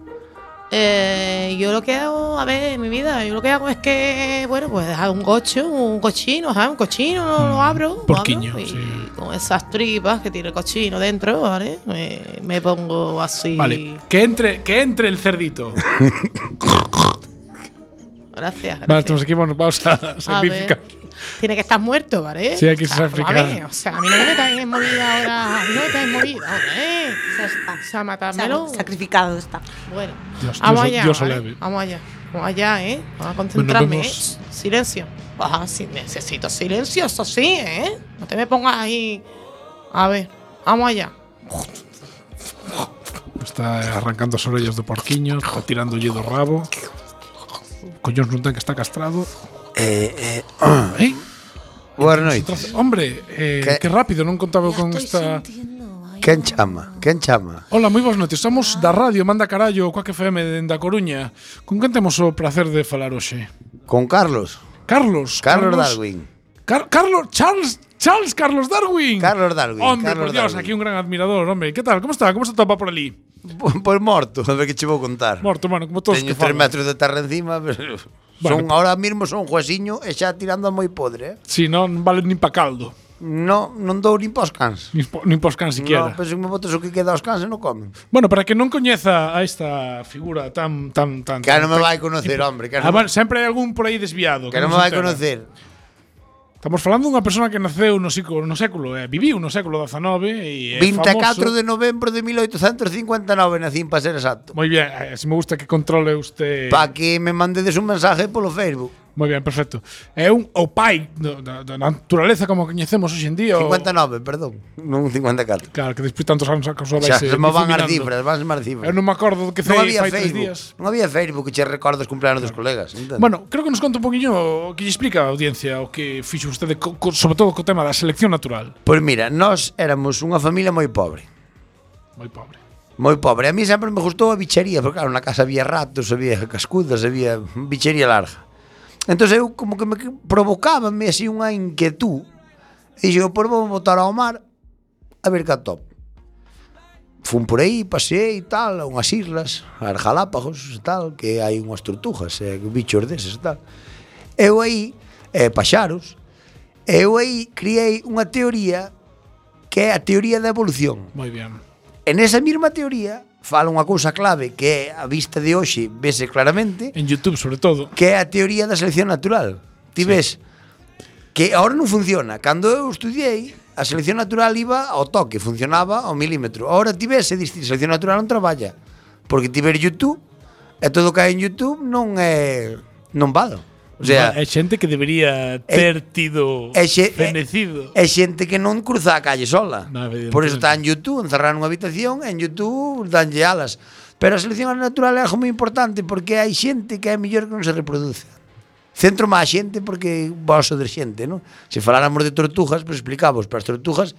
Speaker 10: Eh, yo lo que hago, a ver, en mi vida, yo lo que hago es que, bueno, pues dejar un gocho, un cochino, ¿sabes? Un cochino, lo, lo abro. lo
Speaker 8: Mm, Porquiño,
Speaker 10: abro y
Speaker 8: sí.
Speaker 10: con esas tripas que tiene el cochino dentro, ¿vale? Me, me pongo así.
Speaker 8: Vale, que entre, que entre el cerdito.
Speaker 10: Gracias. gracias.
Speaker 8: Vale, estamos aquí, bueno, vamos a
Speaker 10: A ver,
Speaker 8: sacrificar.
Speaker 10: Tiene que estar muerto, ¿vale?
Speaker 8: Sí, hay que
Speaker 10: O sea, vamos a
Speaker 8: sacrificar.
Speaker 10: ver, O sea, a mí no me metáis en movida ahora. A mí no me metáis en movida ahora, ¿eh? O sea, matármelo.
Speaker 9: Sacrificado está.
Speaker 10: Bueno,
Speaker 8: Dios,
Speaker 10: vamos
Speaker 8: Dios-
Speaker 10: allá.
Speaker 8: Dios
Speaker 10: ¿vale?
Speaker 8: oleve.
Speaker 10: Vamos allá. Vamos allá, ¿eh? Vamos a concentrarme.
Speaker 8: vemos.
Speaker 10: ¿eh? Silencio. Ah, sí, necesito silencio, eso sí, ¿eh? No te me pongas ahí. A ver, vamos allá.
Speaker 8: Está arrancando as orellas do porquiño, está tirando do rabo. Coños non ten que está castrado.
Speaker 7: Eh,
Speaker 8: eh.
Speaker 5: Boas noites.
Speaker 8: Hombre, eh, que,
Speaker 5: Que-
Speaker 8: rápido, non contaba con esta...
Speaker 5: Quen chama? Quen chama?
Speaker 8: Ola, moi boas noches. Somos da radio Manda Carallo, Coac FM dende a Coruña. Con quen temos o placer de falar hoxe?
Speaker 5: Con Carlos.
Speaker 8: Carlos.
Speaker 5: Carlos Darwin.
Speaker 8: Car Carlos, Charles, Charles Carlos Darwin.
Speaker 5: Carlos Darwin.
Speaker 8: Hombre,
Speaker 5: Carlos
Speaker 8: por Dios,
Speaker 5: Darwin.
Speaker 8: aquí un gran admirador, hombre. Que tal? Como está? Como se topa por ali?
Speaker 5: Pois morto, a ver que che vou contar.
Speaker 8: Morto, mano, como todos
Speaker 5: Teño
Speaker 8: que
Speaker 5: tres
Speaker 8: falan.
Speaker 5: metros de terra encima, pero
Speaker 8: Bueno,
Speaker 5: son ahora mismo son juasiño e xa tirando a moi podre, eh?
Speaker 8: Si, non vale nin pa caldo.
Speaker 5: No, non dou nin pos cans.
Speaker 8: Nin, po, nin pos can
Speaker 5: No, pues-
Speaker 8: siquiera.
Speaker 5: pero se me botas o que queda aos cans e non comen.
Speaker 8: Bueno, para que non coñeza a esta figura tan tan tan
Speaker 5: Que non me
Speaker 8: tan-
Speaker 5: vai conocer, hombre, que non-
Speaker 8: Ah, bueno, sempre hai algún por aí desviado.
Speaker 5: Que non me vai
Speaker 8: se entera.
Speaker 5: conocer.
Speaker 8: Estamos falando dunha persona que naceu no século, no século eh, viviu no século XIX e é
Speaker 5: 24
Speaker 8: famoso.
Speaker 5: de novembro de 1859 nacín para ser exacto.
Speaker 8: Moi bien, eh, se me gusta que controle usted.
Speaker 5: Pa que me mandedes un mensaje polo Facebook.
Speaker 8: Moi bien, perfecto. É un opai do- da, da naturaleza como a coñecemos hoxe en día. o-
Speaker 5: 59, perdón. Non 54.
Speaker 8: Claro, que despois tantos anos a cousa vai
Speaker 5: Xa, se me van as
Speaker 8: difuminando.
Speaker 5: cifras, van as cifras.
Speaker 8: Eu non me acordo do que
Speaker 5: Non
Speaker 8: fai-
Speaker 5: había
Speaker 8: fai tres
Speaker 5: Facebook.
Speaker 8: días.
Speaker 5: Non había Facebook que che recorda os cumpleanos dos colegas. entende?
Speaker 8: Bueno, creo que nos conta un poquinho o que lle explica a audiencia o que fixo vostede, co, co, sobre todo co tema da selección natural.
Speaker 5: Pois mira, nós éramos unha familia moi pobre.
Speaker 8: Moi pobre.
Speaker 5: Moi pobre. A mí sempre me gustou a bichería, porque claro, na casa había ratos, había cascudas, había bichería larga. Entón eu como que me provocábame así unha inquietud. E dixo, pois vou botar ao mar a ver que atopo. Fun por aí, paseei e tal, a unhas islas, a Galápagos e tal, que hai unhas tortugas, e bichos deses e tal. Eu aí, e paxaros, eu aí criei unha teoría que é a teoría da evolución.
Speaker 8: Moi bien.
Speaker 5: E nesa mesma teoría fala unha cousa clave que é a vista de hoxe vese claramente
Speaker 8: En YouTube, sobre todo.
Speaker 5: que é a teoría da selección natural. Ti ves que ahora non funciona. Cando eu estudiei, a selección natural iba ao toque, funcionaba ao milímetro. Ahora ti ves e dis, "Ti, selección natural non traballa. Porque ti ver YouTube e todo o que hai en YouTube non é non vale. O sea,
Speaker 8: é xente que debería ter tido
Speaker 5: é xe- eh, é-
Speaker 8: fenecido.
Speaker 5: É xente que non cruza a calle sola.
Speaker 8: No, evidentemente.
Speaker 5: Por iso está en YouTube, encerrada nunha habitación, en YouTube danlle alas. Pero a selección natural é algo moi importante porque hai xente que é mellor que non se reproduce. Centro má a xente porque vos de xente, non? Se faláramos de tortugas, pois explicamos, pero as tortugas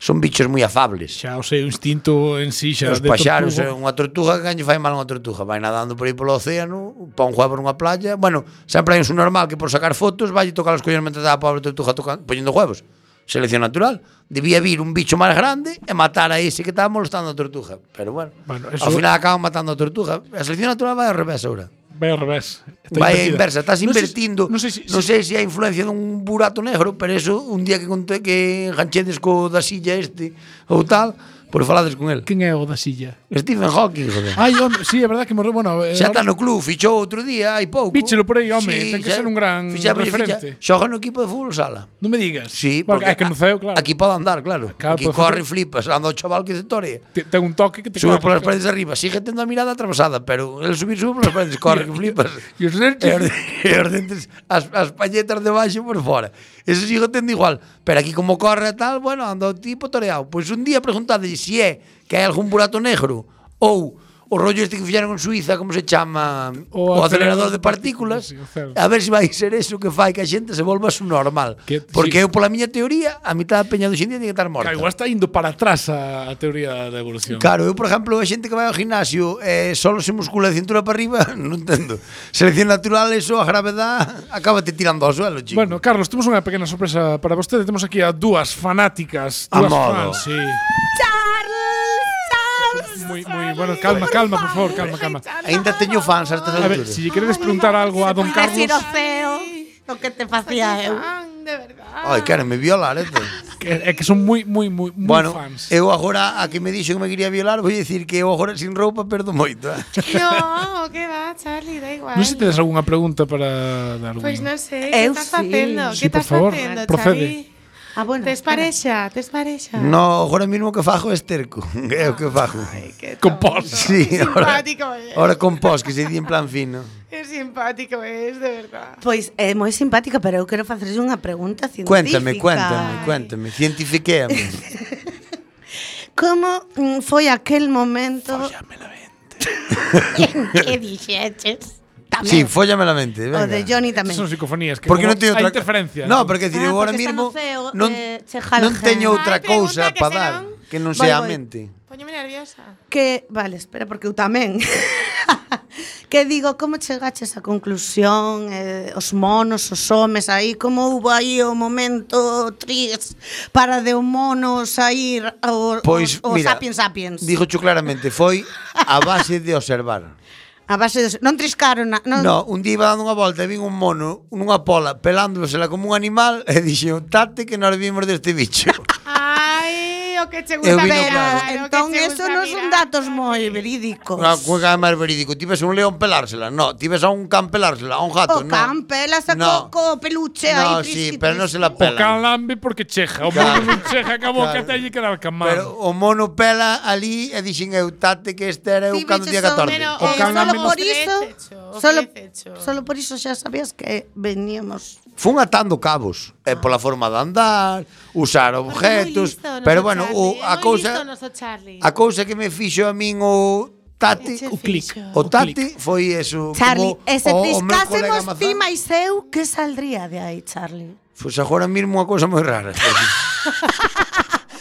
Speaker 5: son bichos moi afables.
Speaker 8: xa o seu instinto en sí xa
Speaker 5: Os
Speaker 8: de
Speaker 5: paxaros, é
Speaker 8: tortugo.
Speaker 5: unha tortuga que lle fai mal a unha tortuga, vai nadando por aí polo océano, pa un juego por unha playa, bueno, sempre hai un normal que por sacar fotos vai tocar os collos mentre está a pobre tortuga tocan, poñendo huevos. Selección natural. Debía vir un bicho máis grande e matar a ese que estaba molestando a tortuga. Pero bueno,
Speaker 8: Bueno, eso-
Speaker 5: ao final acaban matando a tortuga. A selección natural vai ao revés ahora.
Speaker 8: Vai ao revés. Está
Speaker 5: Vai a
Speaker 8: invertida.
Speaker 5: inversa, estás
Speaker 8: Non sei se-
Speaker 5: invertindo.
Speaker 8: Non sei se,
Speaker 5: non sei se hai influencia dun burato negro, pero eso un día que conte que enganchedes co da silla este ou tal, por falades con el.
Speaker 8: Quen é o da silla?
Speaker 5: Stephen Hawking, joder.
Speaker 8: Ai, home, sí, é verdad que morreu, bueno, eh,
Speaker 5: Xa está no club, fichou outro día, hai pouco.
Speaker 8: Píchelo por aí, home, ten que
Speaker 5: xa-
Speaker 8: ser un gran
Speaker 5: fichámoslle
Speaker 8: referente.
Speaker 5: Ficha, xoga no equipo de fútbol sala.
Speaker 8: non me digas.
Speaker 5: Sí,
Speaker 8: porque é que
Speaker 5: a-
Speaker 8: no ceo, claro.
Speaker 5: Aquí pode andar, claro.
Speaker 8: Claro,
Speaker 5: aquí
Speaker 8: pode
Speaker 5: corre,
Speaker 8: facer-
Speaker 5: flipas, anda o chaval que se tore.
Speaker 8: Te- ten un toque que te
Speaker 5: Sube
Speaker 8: cagas.
Speaker 5: polas paredes arriba, sigue tendo a mirada atravesada, pero el subir, sube polas paredes, corre, que flipas.
Speaker 8: E os dentes-
Speaker 5: E os de- e os dentes, as, as palletas de baixo por fora. Eso sigo tendo igual. Pero aquí como corre e tal, bueno, anda o tipo toreado. Pois un día preguntade se é que hai algún burato negro ou o rollo este que fixeron en Suiza, como se chama, o,
Speaker 8: O
Speaker 5: acelerador
Speaker 8: acelerador
Speaker 5: de partículas,
Speaker 8: sí, o cero.
Speaker 5: a ver se vai ser eso que fai que a xente se volva subnormal.
Speaker 8: Que-
Speaker 5: Porque
Speaker 8: sí.
Speaker 5: eu, pola miña teoría, a mitad da peña do xindía tiene que estar morta.
Speaker 8: Claro, igual está indo para atrás a, a teoría da evolución.
Speaker 5: Claro, eu, por exemplo, a xente que vai ao gimnasio eh, solo se muscula de cintura para arriba, non entendo. Selección natural, eso, a gravedad, acábate tirando ao suelo, chico.
Speaker 8: Bueno, Carlos, temos unha pequena sorpresa para vostede. Temos aquí a dúas fanáticas,
Speaker 5: A
Speaker 8: dúas
Speaker 5: modo.
Speaker 8: fans, sí. Moi, moi, bueno, calma, calma, por favor, calma, calma.
Speaker 5: Ainda teño fans a estas
Speaker 8: A ver,
Speaker 5: alturas.
Speaker 8: se lle queredes preguntar algo a don Carlos,
Speaker 9: Decir o feo, lo que te facía eu.
Speaker 5: Ai, cara, me violar, esto.
Speaker 8: que, é que son moi, moi, moi, moi
Speaker 5: bueno, eh,
Speaker 8: fans.
Speaker 5: eu agora, a que me dixo que me quería violar, vou dicir que eu agora sin roupa perdo moito. eh.
Speaker 10: No, que va, Charlie, da igual.
Speaker 8: Non
Speaker 10: Pues
Speaker 8: sei se tedes algunha pregunta para dar algún.
Speaker 10: Pois non sei, que
Speaker 9: Eu sí.
Speaker 10: estás facendo?
Speaker 8: Sí,
Speaker 10: que
Speaker 8: por
Speaker 10: estás
Speaker 8: favor,
Speaker 10: facendo,
Speaker 8: procede.
Speaker 10: Charlie?
Speaker 9: Ah, bueno.
Speaker 10: Tes parexa, tes parexa.
Speaker 5: No, agora mismo o que fajo é esterco. É o que fajo.
Speaker 8: Compós.
Speaker 5: Sí,
Speaker 10: Qué
Speaker 5: ahora,
Speaker 10: simpático es.
Speaker 5: ahora con pos, que se di en plan fino.
Speaker 10: Que simpático es, de verdad.
Speaker 9: Pois é moi simpática, pero eu quero facerlle unha pregunta científica.
Speaker 5: Cuéntame, cuéntame, cuéntame. Cientifiquéame.
Speaker 9: Como mm, foi aquel momento... Fóllame la vente. que dixeches? Tamén.
Speaker 5: Sí, fóllame la mente,
Speaker 9: o de
Speaker 5: venga.
Speaker 9: Johnny tamén.
Speaker 8: Son psicofonías que
Speaker 5: Porque non
Speaker 8: como
Speaker 5: teño
Speaker 8: hai
Speaker 5: outra
Speaker 8: interferencia.
Speaker 5: No, porque decir, eu
Speaker 9: Ah,
Speaker 5: agora
Speaker 9: porque está
Speaker 5: mismo
Speaker 9: no feo,
Speaker 5: non,
Speaker 9: eh, che
Speaker 5: non
Speaker 9: jalgen.
Speaker 5: teño
Speaker 9: Ai,
Speaker 5: outra
Speaker 10: pregunta
Speaker 5: cousa
Speaker 10: que
Speaker 5: para
Speaker 10: será
Speaker 5: dar
Speaker 10: un-
Speaker 5: que non
Speaker 9: Vai,
Speaker 5: sea a
Speaker 9: vai.
Speaker 5: mente.
Speaker 10: Póñeme Pues nerviosa.
Speaker 9: Que, vale, espera, porque eu tamén. que digo, como chegaches a conclusión, eh, os monos, os homes aí, como houve aí o momento tris para de o mono sair o,
Speaker 5: Pois,
Speaker 9: o, o
Speaker 5: mira,
Speaker 9: sapiens sapiens?
Speaker 5: Dígocho claramente, foi a base de observar.
Speaker 9: a base de, non triscaron, na- non,
Speaker 5: No, un día iba dando unha volta e vin un mono nunha pola pelándosela como un animal e dixen, tate que nos vimos deste bicho.
Speaker 10: Ay, oh, o que che gusta
Speaker 5: Eu
Speaker 10: mirar.
Speaker 5: vino
Speaker 9: Pero
Speaker 5: claro.
Speaker 9: entón eso non son datos moi verídicos.
Speaker 5: Unha cueca máis verídico. Tives un león pelársela, no. Tives a un can pelársela, a un gato,
Speaker 9: o
Speaker 5: no.
Speaker 9: can pela
Speaker 5: No.
Speaker 9: sacou co peluche
Speaker 5: No,
Speaker 9: aí
Speaker 5: sí,
Speaker 9: trisqui,
Speaker 5: pero non se
Speaker 9: trisqui.
Speaker 5: la
Speaker 8: O can
Speaker 5: pela.
Speaker 8: lambe porque cheja. O
Speaker 5: Claro.
Speaker 8: mono non cheja que a boca
Speaker 5: Claro.
Speaker 8: telle que dar camar.
Speaker 5: Pero o mono pela ali e dixen eu tate que este era eu
Speaker 9: Ti
Speaker 5: cando
Speaker 9: bichos
Speaker 5: día
Speaker 9: son
Speaker 5: 14.
Speaker 10: menos-
Speaker 8: O
Speaker 9: Eh,
Speaker 8: can
Speaker 9: solo
Speaker 8: menos-
Speaker 9: por iso,
Speaker 10: Ofrécecho,
Speaker 9: solo,
Speaker 10: ofrécecho.
Speaker 9: solo por iso xa sabías que veníamos.
Speaker 5: Fun atando cabos eh, pola forma de andar, usar
Speaker 9: Ah,
Speaker 5: objetos, pero bueno, o, a cousa a cousa que me fixo a min o tate
Speaker 10: O clic.
Speaker 5: o tate foi eso
Speaker 9: Charlie,
Speaker 5: como
Speaker 9: e se
Speaker 5: o- o meu colega
Speaker 9: triscásemos ti
Speaker 5: Mazán.
Speaker 9: máis eu, que saldría de aí, Charlie?
Speaker 5: Pois agora mesmo unha cousa moi rara.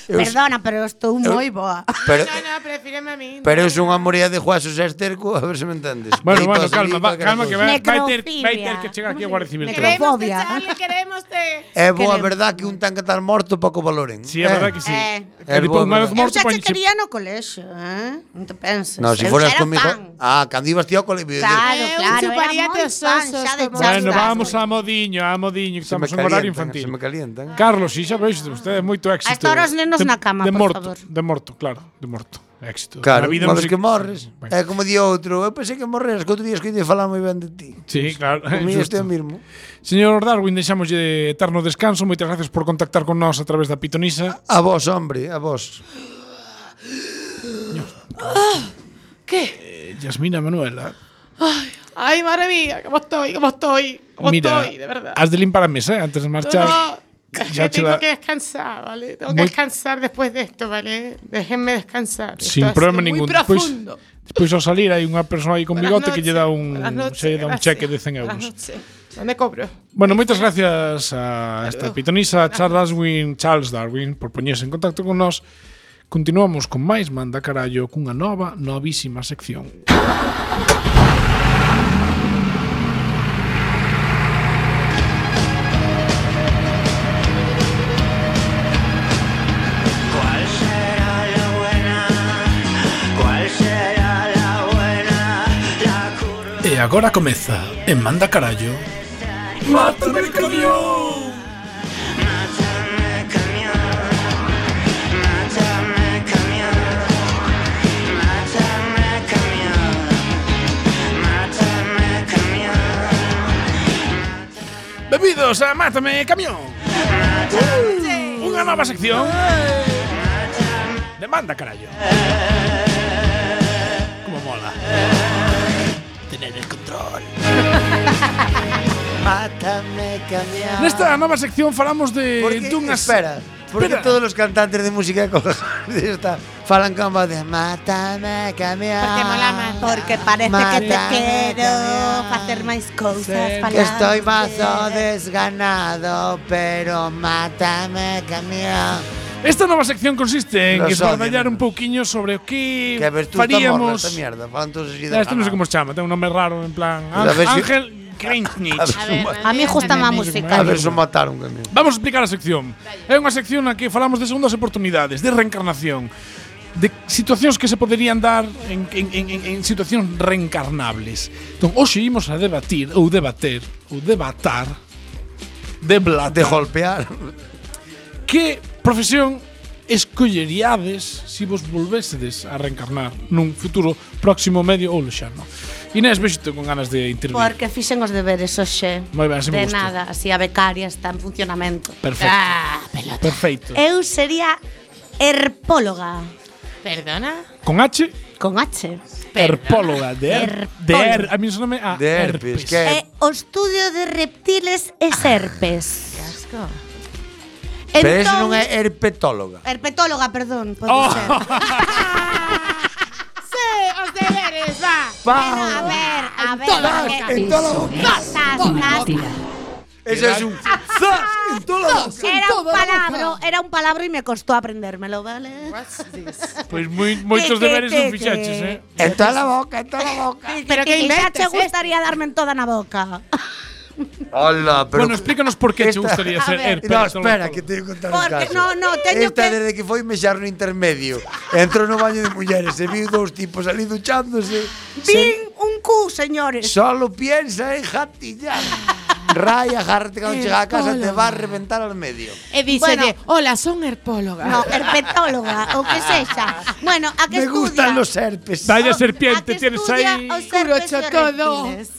Speaker 5: Eu-
Speaker 9: Perdona, pero eu estou moi boa.
Speaker 5: pero
Speaker 10: No, no, prefíreme a mí.
Speaker 5: pero eu son unha moría de juazos e esterco, a ver se me entendes.
Speaker 8: Bueno,
Speaker 5: Deito
Speaker 8: bueno,
Speaker 5: así,
Speaker 8: calma, va,
Speaker 5: cualquiera
Speaker 8: calma que
Speaker 5: cousa.
Speaker 8: vai, vai, ter,
Speaker 9: Necrofilia.
Speaker 8: vai ter que chegar aquí a Guardia Civil.
Speaker 9: Necro-
Speaker 10: Queremos te,
Speaker 9: Necrofobia.
Speaker 10: Charlie, queremos te.
Speaker 5: É boa
Speaker 9: Queremos.
Speaker 5: verdad que un tan que estar morto pouco valoren.
Speaker 8: Sí, é verdade que sí.
Speaker 9: Eh.
Speaker 5: É
Speaker 8: Que tipo,
Speaker 5: boa,
Speaker 8: unha vez
Speaker 5: verdade.
Speaker 9: Eu
Speaker 8: morto,
Speaker 9: xa che
Speaker 8: ponche-
Speaker 9: quería no colexo, eh? Non te penses.
Speaker 5: No, si
Speaker 9: eu
Speaker 5: fueras
Speaker 9: xa era
Speaker 5: conmigo.
Speaker 9: fan. Eh,
Speaker 5: Ah, cando ibas tío con
Speaker 9: Claro,
Speaker 10: Eu
Speaker 9: claro, era
Speaker 10: chuparíate
Speaker 9: moi
Speaker 10: os
Speaker 9: fan
Speaker 10: osos
Speaker 9: xa de
Speaker 10: como-
Speaker 9: Charlie
Speaker 8: Bueno,
Speaker 9: Chaplin.
Speaker 8: vamos a modiño, a modiño, que estamos en horario infantil.
Speaker 5: Se me calientan.
Speaker 8: Carlos, si xa veis, usted é moito éxito.
Speaker 9: A esta hora os nenos na cama,
Speaker 8: de
Speaker 9: por
Speaker 8: morto,
Speaker 9: favor.
Speaker 8: De morto, claro, de morto. Éxito.
Speaker 5: Claro,
Speaker 8: Na vida
Speaker 5: unha
Speaker 8: non
Speaker 5: vez
Speaker 8: se-
Speaker 5: que morres.
Speaker 8: Ben.
Speaker 5: É como di outro, eu pensei que morreras, que outro día escoite falar moi ben de ti.
Speaker 8: Sí, claro.
Speaker 5: Comigo
Speaker 8: justo.
Speaker 5: este mesmo.
Speaker 8: Señor Darwin, deixámoslle eterno descanso. Moitas gracias por contactar con nós a través da pitonisa.
Speaker 5: A vos, hombre, a vos.
Speaker 8: Eh, Yasmina Manuela.
Speaker 10: Ay, madre mía, cómo estoy, cómo estoy, cómo
Speaker 8: Mira,
Speaker 10: estoy, de verdad.
Speaker 8: has de limpar a mesa eh, antes de marchar.
Speaker 10: No,
Speaker 8: Ya
Speaker 10: que
Speaker 8: te la-
Speaker 10: tengo que descansar, ¿vale? Tengo que
Speaker 8: Muy-
Speaker 10: descansar después de esto, ¿vale? Déjenme descansar. Esto ha
Speaker 8: Sin
Speaker 10: sido
Speaker 8: problema
Speaker 10: muy
Speaker 8: ningún.
Speaker 10: profundo.
Speaker 8: despois ao salir hai unha persoa aí con
Speaker 10: Buenas
Speaker 8: bigote que lle dá
Speaker 10: noches,
Speaker 8: un,
Speaker 10: buenas noches,
Speaker 8: se lle dá un
Speaker 10: gracias.
Speaker 8: cheque de 100 euros.
Speaker 10: Buenas noches. ¿Dónde cobro?
Speaker 8: Bueno, moitas gracias a esta pitonisa a Charles Darwin, Charles Darwin por poñerse en contacto con nós. Continuamos con máis Manda Carallo cunha nova, novísima sección. E agora comeza en Manda Carallo Mátame camión Bebidos a Mátame Camión Uh, Unha nova sección De Manda Carallo Como mola
Speaker 5: Mátame, camión.
Speaker 8: Nesta nova sección falamos de
Speaker 5: Porque,
Speaker 8: dunhas
Speaker 5: espera, Porque todos los cantantes de música de cojones esta falan con voz de Mátame,
Speaker 9: Porque
Speaker 5: camión.
Speaker 9: mola máis. Porque parece que
Speaker 5: Mátame,
Speaker 9: te quero facer máis cousas para
Speaker 5: Que estoy mazo desganado, pero mátame, camión.
Speaker 8: Esta nova sección consiste en
Speaker 5: Los
Speaker 8: esbardallar un pouquiño sobre o que,
Speaker 5: Que a ver, tú estás morda,
Speaker 8: faríamos…
Speaker 5: esta mierda. Falan todos así
Speaker 8: Ah,
Speaker 5: de
Speaker 8: Esto no sé cómo se llama, tiene un nombre raro, en plan…
Speaker 5: A ver si-
Speaker 8: Ángel Kreinich.
Speaker 9: A mí gusta má música.
Speaker 5: A ver, se mataron, camión.
Speaker 8: Vamos a explicar a sección. É unha sección na que falamos de segundas oportunidades, de reencarnación, de situacións que se poderían dar en, en, en, en, en situacións reencarnables. Entón, hoxe imos a debatir, ou debater, ou debatar, deblatar,
Speaker 5: De golpear.
Speaker 8: que profesión escolleríades se vos volvésedes a reencarnar nun futuro próximo medio ou lexano. Inés, vexo con ganas de intervir.
Speaker 9: Porque fixen os deberes hoxe.
Speaker 8: Mm. Moi ben, así me
Speaker 9: De
Speaker 8: gusta.
Speaker 9: nada, así a becaria está en funcionamento.
Speaker 8: Perfecto.
Speaker 9: Ah,
Speaker 8: Perfecto.
Speaker 9: eu sería herpóloga.
Speaker 10: Perdona.
Speaker 8: Con H,
Speaker 9: Con H.
Speaker 8: herpóloga. De, her, de her, a mí soname a
Speaker 5: De herpes,
Speaker 8: herpes.
Speaker 5: que
Speaker 9: E o estudio de reptiles e serpes.
Speaker 10: Qué asco.
Speaker 5: Pero eso non é herpetóloga.
Speaker 9: Entón, Herpetóloga, perdón, pode ser.
Speaker 10: Sí, os deberes, va.
Speaker 9: Pero a ver, a ver.
Speaker 10: toda
Speaker 9: que-
Speaker 10: boca.
Speaker 5: En toda boca.
Speaker 9: Zas, zas,
Speaker 5: Ese es un zas en toda la boca.
Speaker 9: Era un palabra, era un palabra y me costó aprendérmelo, ¿vale?
Speaker 8: Pois moi, moitos
Speaker 9: Que, que,
Speaker 8: deberes non
Speaker 9: que,
Speaker 8: fixaches,
Speaker 9: que.
Speaker 8: eh?
Speaker 5: En toda la boca, en toda la boca.
Speaker 10: Pero que
Speaker 9: ya te
Speaker 10: inventes
Speaker 9: gustaría darme en toda la boca.
Speaker 5: Hola, pero
Speaker 8: bueno, explícanos por que te
Speaker 5: Esta-
Speaker 8: gustaría ser
Speaker 9: ver.
Speaker 8: herpes.
Speaker 5: No, espera, que te voy a contar un
Speaker 9: Porque
Speaker 5: caso.
Speaker 9: no, no, teño
Speaker 5: Esta
Speaker 9: que-
Speaker 5: desde que foi mexar no intermedio. Entrou no baño de mulleres, se viu dous tipos ali duchándose. Se,
Speaker 9: Vin un cu, señores.
Speaker 5: solo piensa en jatillar. Raya, agárrate cando chega a casa te va a reventar al medio.
Speaker 10: E díxelle, hola, son herpóloga.
Speaker 9: No, herpetóloga, o que sexa. Bueno, a que
Speaker 5: Me
Speaker 9: estudia.
Speaker 5: gustan los herpes.
Speaker 8: Vaya
Speaker 9: ¿A
Speaker 8: serpiente,
Speaker 9: que
Speaker 8: tienes
Speaker 9: estudia
Speaker 8: ahí.
Speaker 9: os herpes e
Speaker 10: Curochocodo.
Speaker 9: reptiles?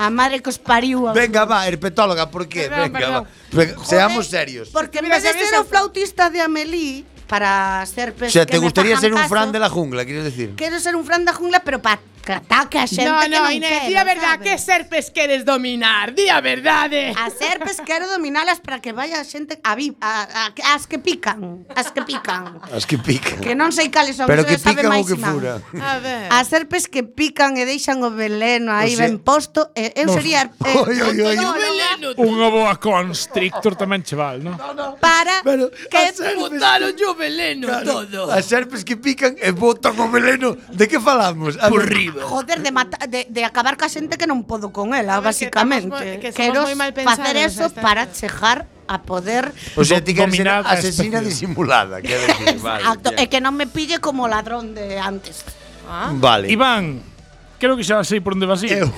Speaker 9: A madre que os pariu. a-
Speaker 5: Venga, va, herpetóloga, por qué?
Speaker 10: Perdón,
Speaker 5: Venga, va.
Speaker 10: perdón.
Speaker 5: Venga,
Speaker 9: Joder, pues,
Speaker 5: seamos serios.
Speaker 9: Porque en
Speaker 10: Mira,
Speaker 9: vez de
Speaker 10: si a mí
Speaker 9: ser
Speaker 10: se-
Speaker 9: un flautista de Amelie, para ser
Speaker 5: O
Speaker 9: pes
Speaker 5: sea,
Speaker 9: que
Speaker 5: ¿te
Speaker 9: me
Speaker 5: gustaría
Speaker 9: fagan
Speaker 5: ser un
Speaker 9: caso,
Speaker 5: fran de la jungla, quieres decir?
Speaker 9: Quero ser un fran da jungla, pero para ataque a xente
Speaker 10: No,
Speaker 9: que non
Speaker 10: no, Inés,
Speaker 9: quero,
Speaker 10: di a verdad,
Speaker 9: sabes?
Speaker 10: que serpes queres dominar? Di eh. a verdade.
Speaker 9: A serpes quero dominalas para que vaya a xente a, vi, a, a, as que pican, as que pican.
Speaker 5: As que pican.
Speaker 9: Que non sei cales son,
Speaker 5: Pero
Speaker 9: eso
Speaker 5: que
Speaker 9: ya sabe
Speaker 5: pican ou
Speaker 9: máis
Speaker 5: que
Speaker 9: Imán.
Speaker 5: fura.
Speaker 10: A ver.
Speaker 9: As serpes que pican e deixan o veleno aí
Speaker 5: O sea-
Speaker 9: ben posto, eh, eu sería eh,
Speaker 5: Oi, oi, oi.
Speaker 9: odontóloga
Speaker 8: Unha boa constrictor tamén cheval, non?
Speaker 9: para
Speaker 5: Pero
Speaker 9: que
Speaker 5: as serpes,
Speaker 10: Botaron yo veleno todo.
Speaker 5: as serpes que pican e botan o veleno. De que falamos? Por riba.
Speaker 9: Joder, de, mata, de, de acabar ca xente que non podo con ela,
Speaker 10: A ver, que
Speaker 9: basicamente.
Speaker 10: estamos moi- que somos
Speaker 9: Quero
Speaker 10: moi mal pensados,
Speaker 9: facer eso
Speaker 10: hasta-
Speaker 9: para chejar a poder
Speaker 5: O sea, ti queres ser
Speaker 8: Dominar a
Speaker 5: asesina
Speaker 8: especie.
Speaker 5: disimulada. Quero decir, vale.
Speaker 9: acto,
Speaker 5: bien.
Speaker 9: e que non me pille como ladrón de antes.
Speaker 5: Vale.
Speaker 8: Iván, creo que xa sei por onde vas ir.
Speaker 5: Eu,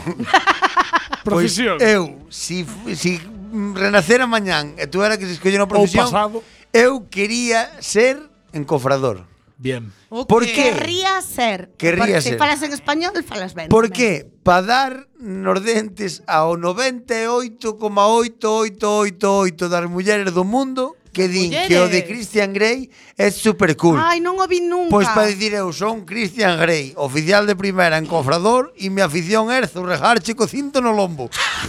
Speaker 5: pois,
Speaker 8: Profesión.
Speaker 5: eu, si, f- si mm, renacera mañán e tú era que se escoller unha profesión,
Speaker 8: pasado.
Speaker 5: eu quería ser encofrador.
Speaker 8: Bien.
Speaker 5: Por que?
Speaker 9: Querría ser.
Speaker 5: Querría ser.
Speaker 9: Porque Se falas en español, falas ben.
Speaker 5: Por
Speaker 9: tamén.
Speaker 5: que? Pa dar nos dentes ao e 98,8888 das mulleres do mundo que din
Speaker 10: Mulleres.
Speaker 5: que o de Christian Grey é super cool.
Speaker 9: Ai, non o vi nunca.
Speaker 5: Pois Pues para dicir eu son Christian Grey, oficial de primeira en cofrador e mi afición é zurrejarche co cinto no lombo.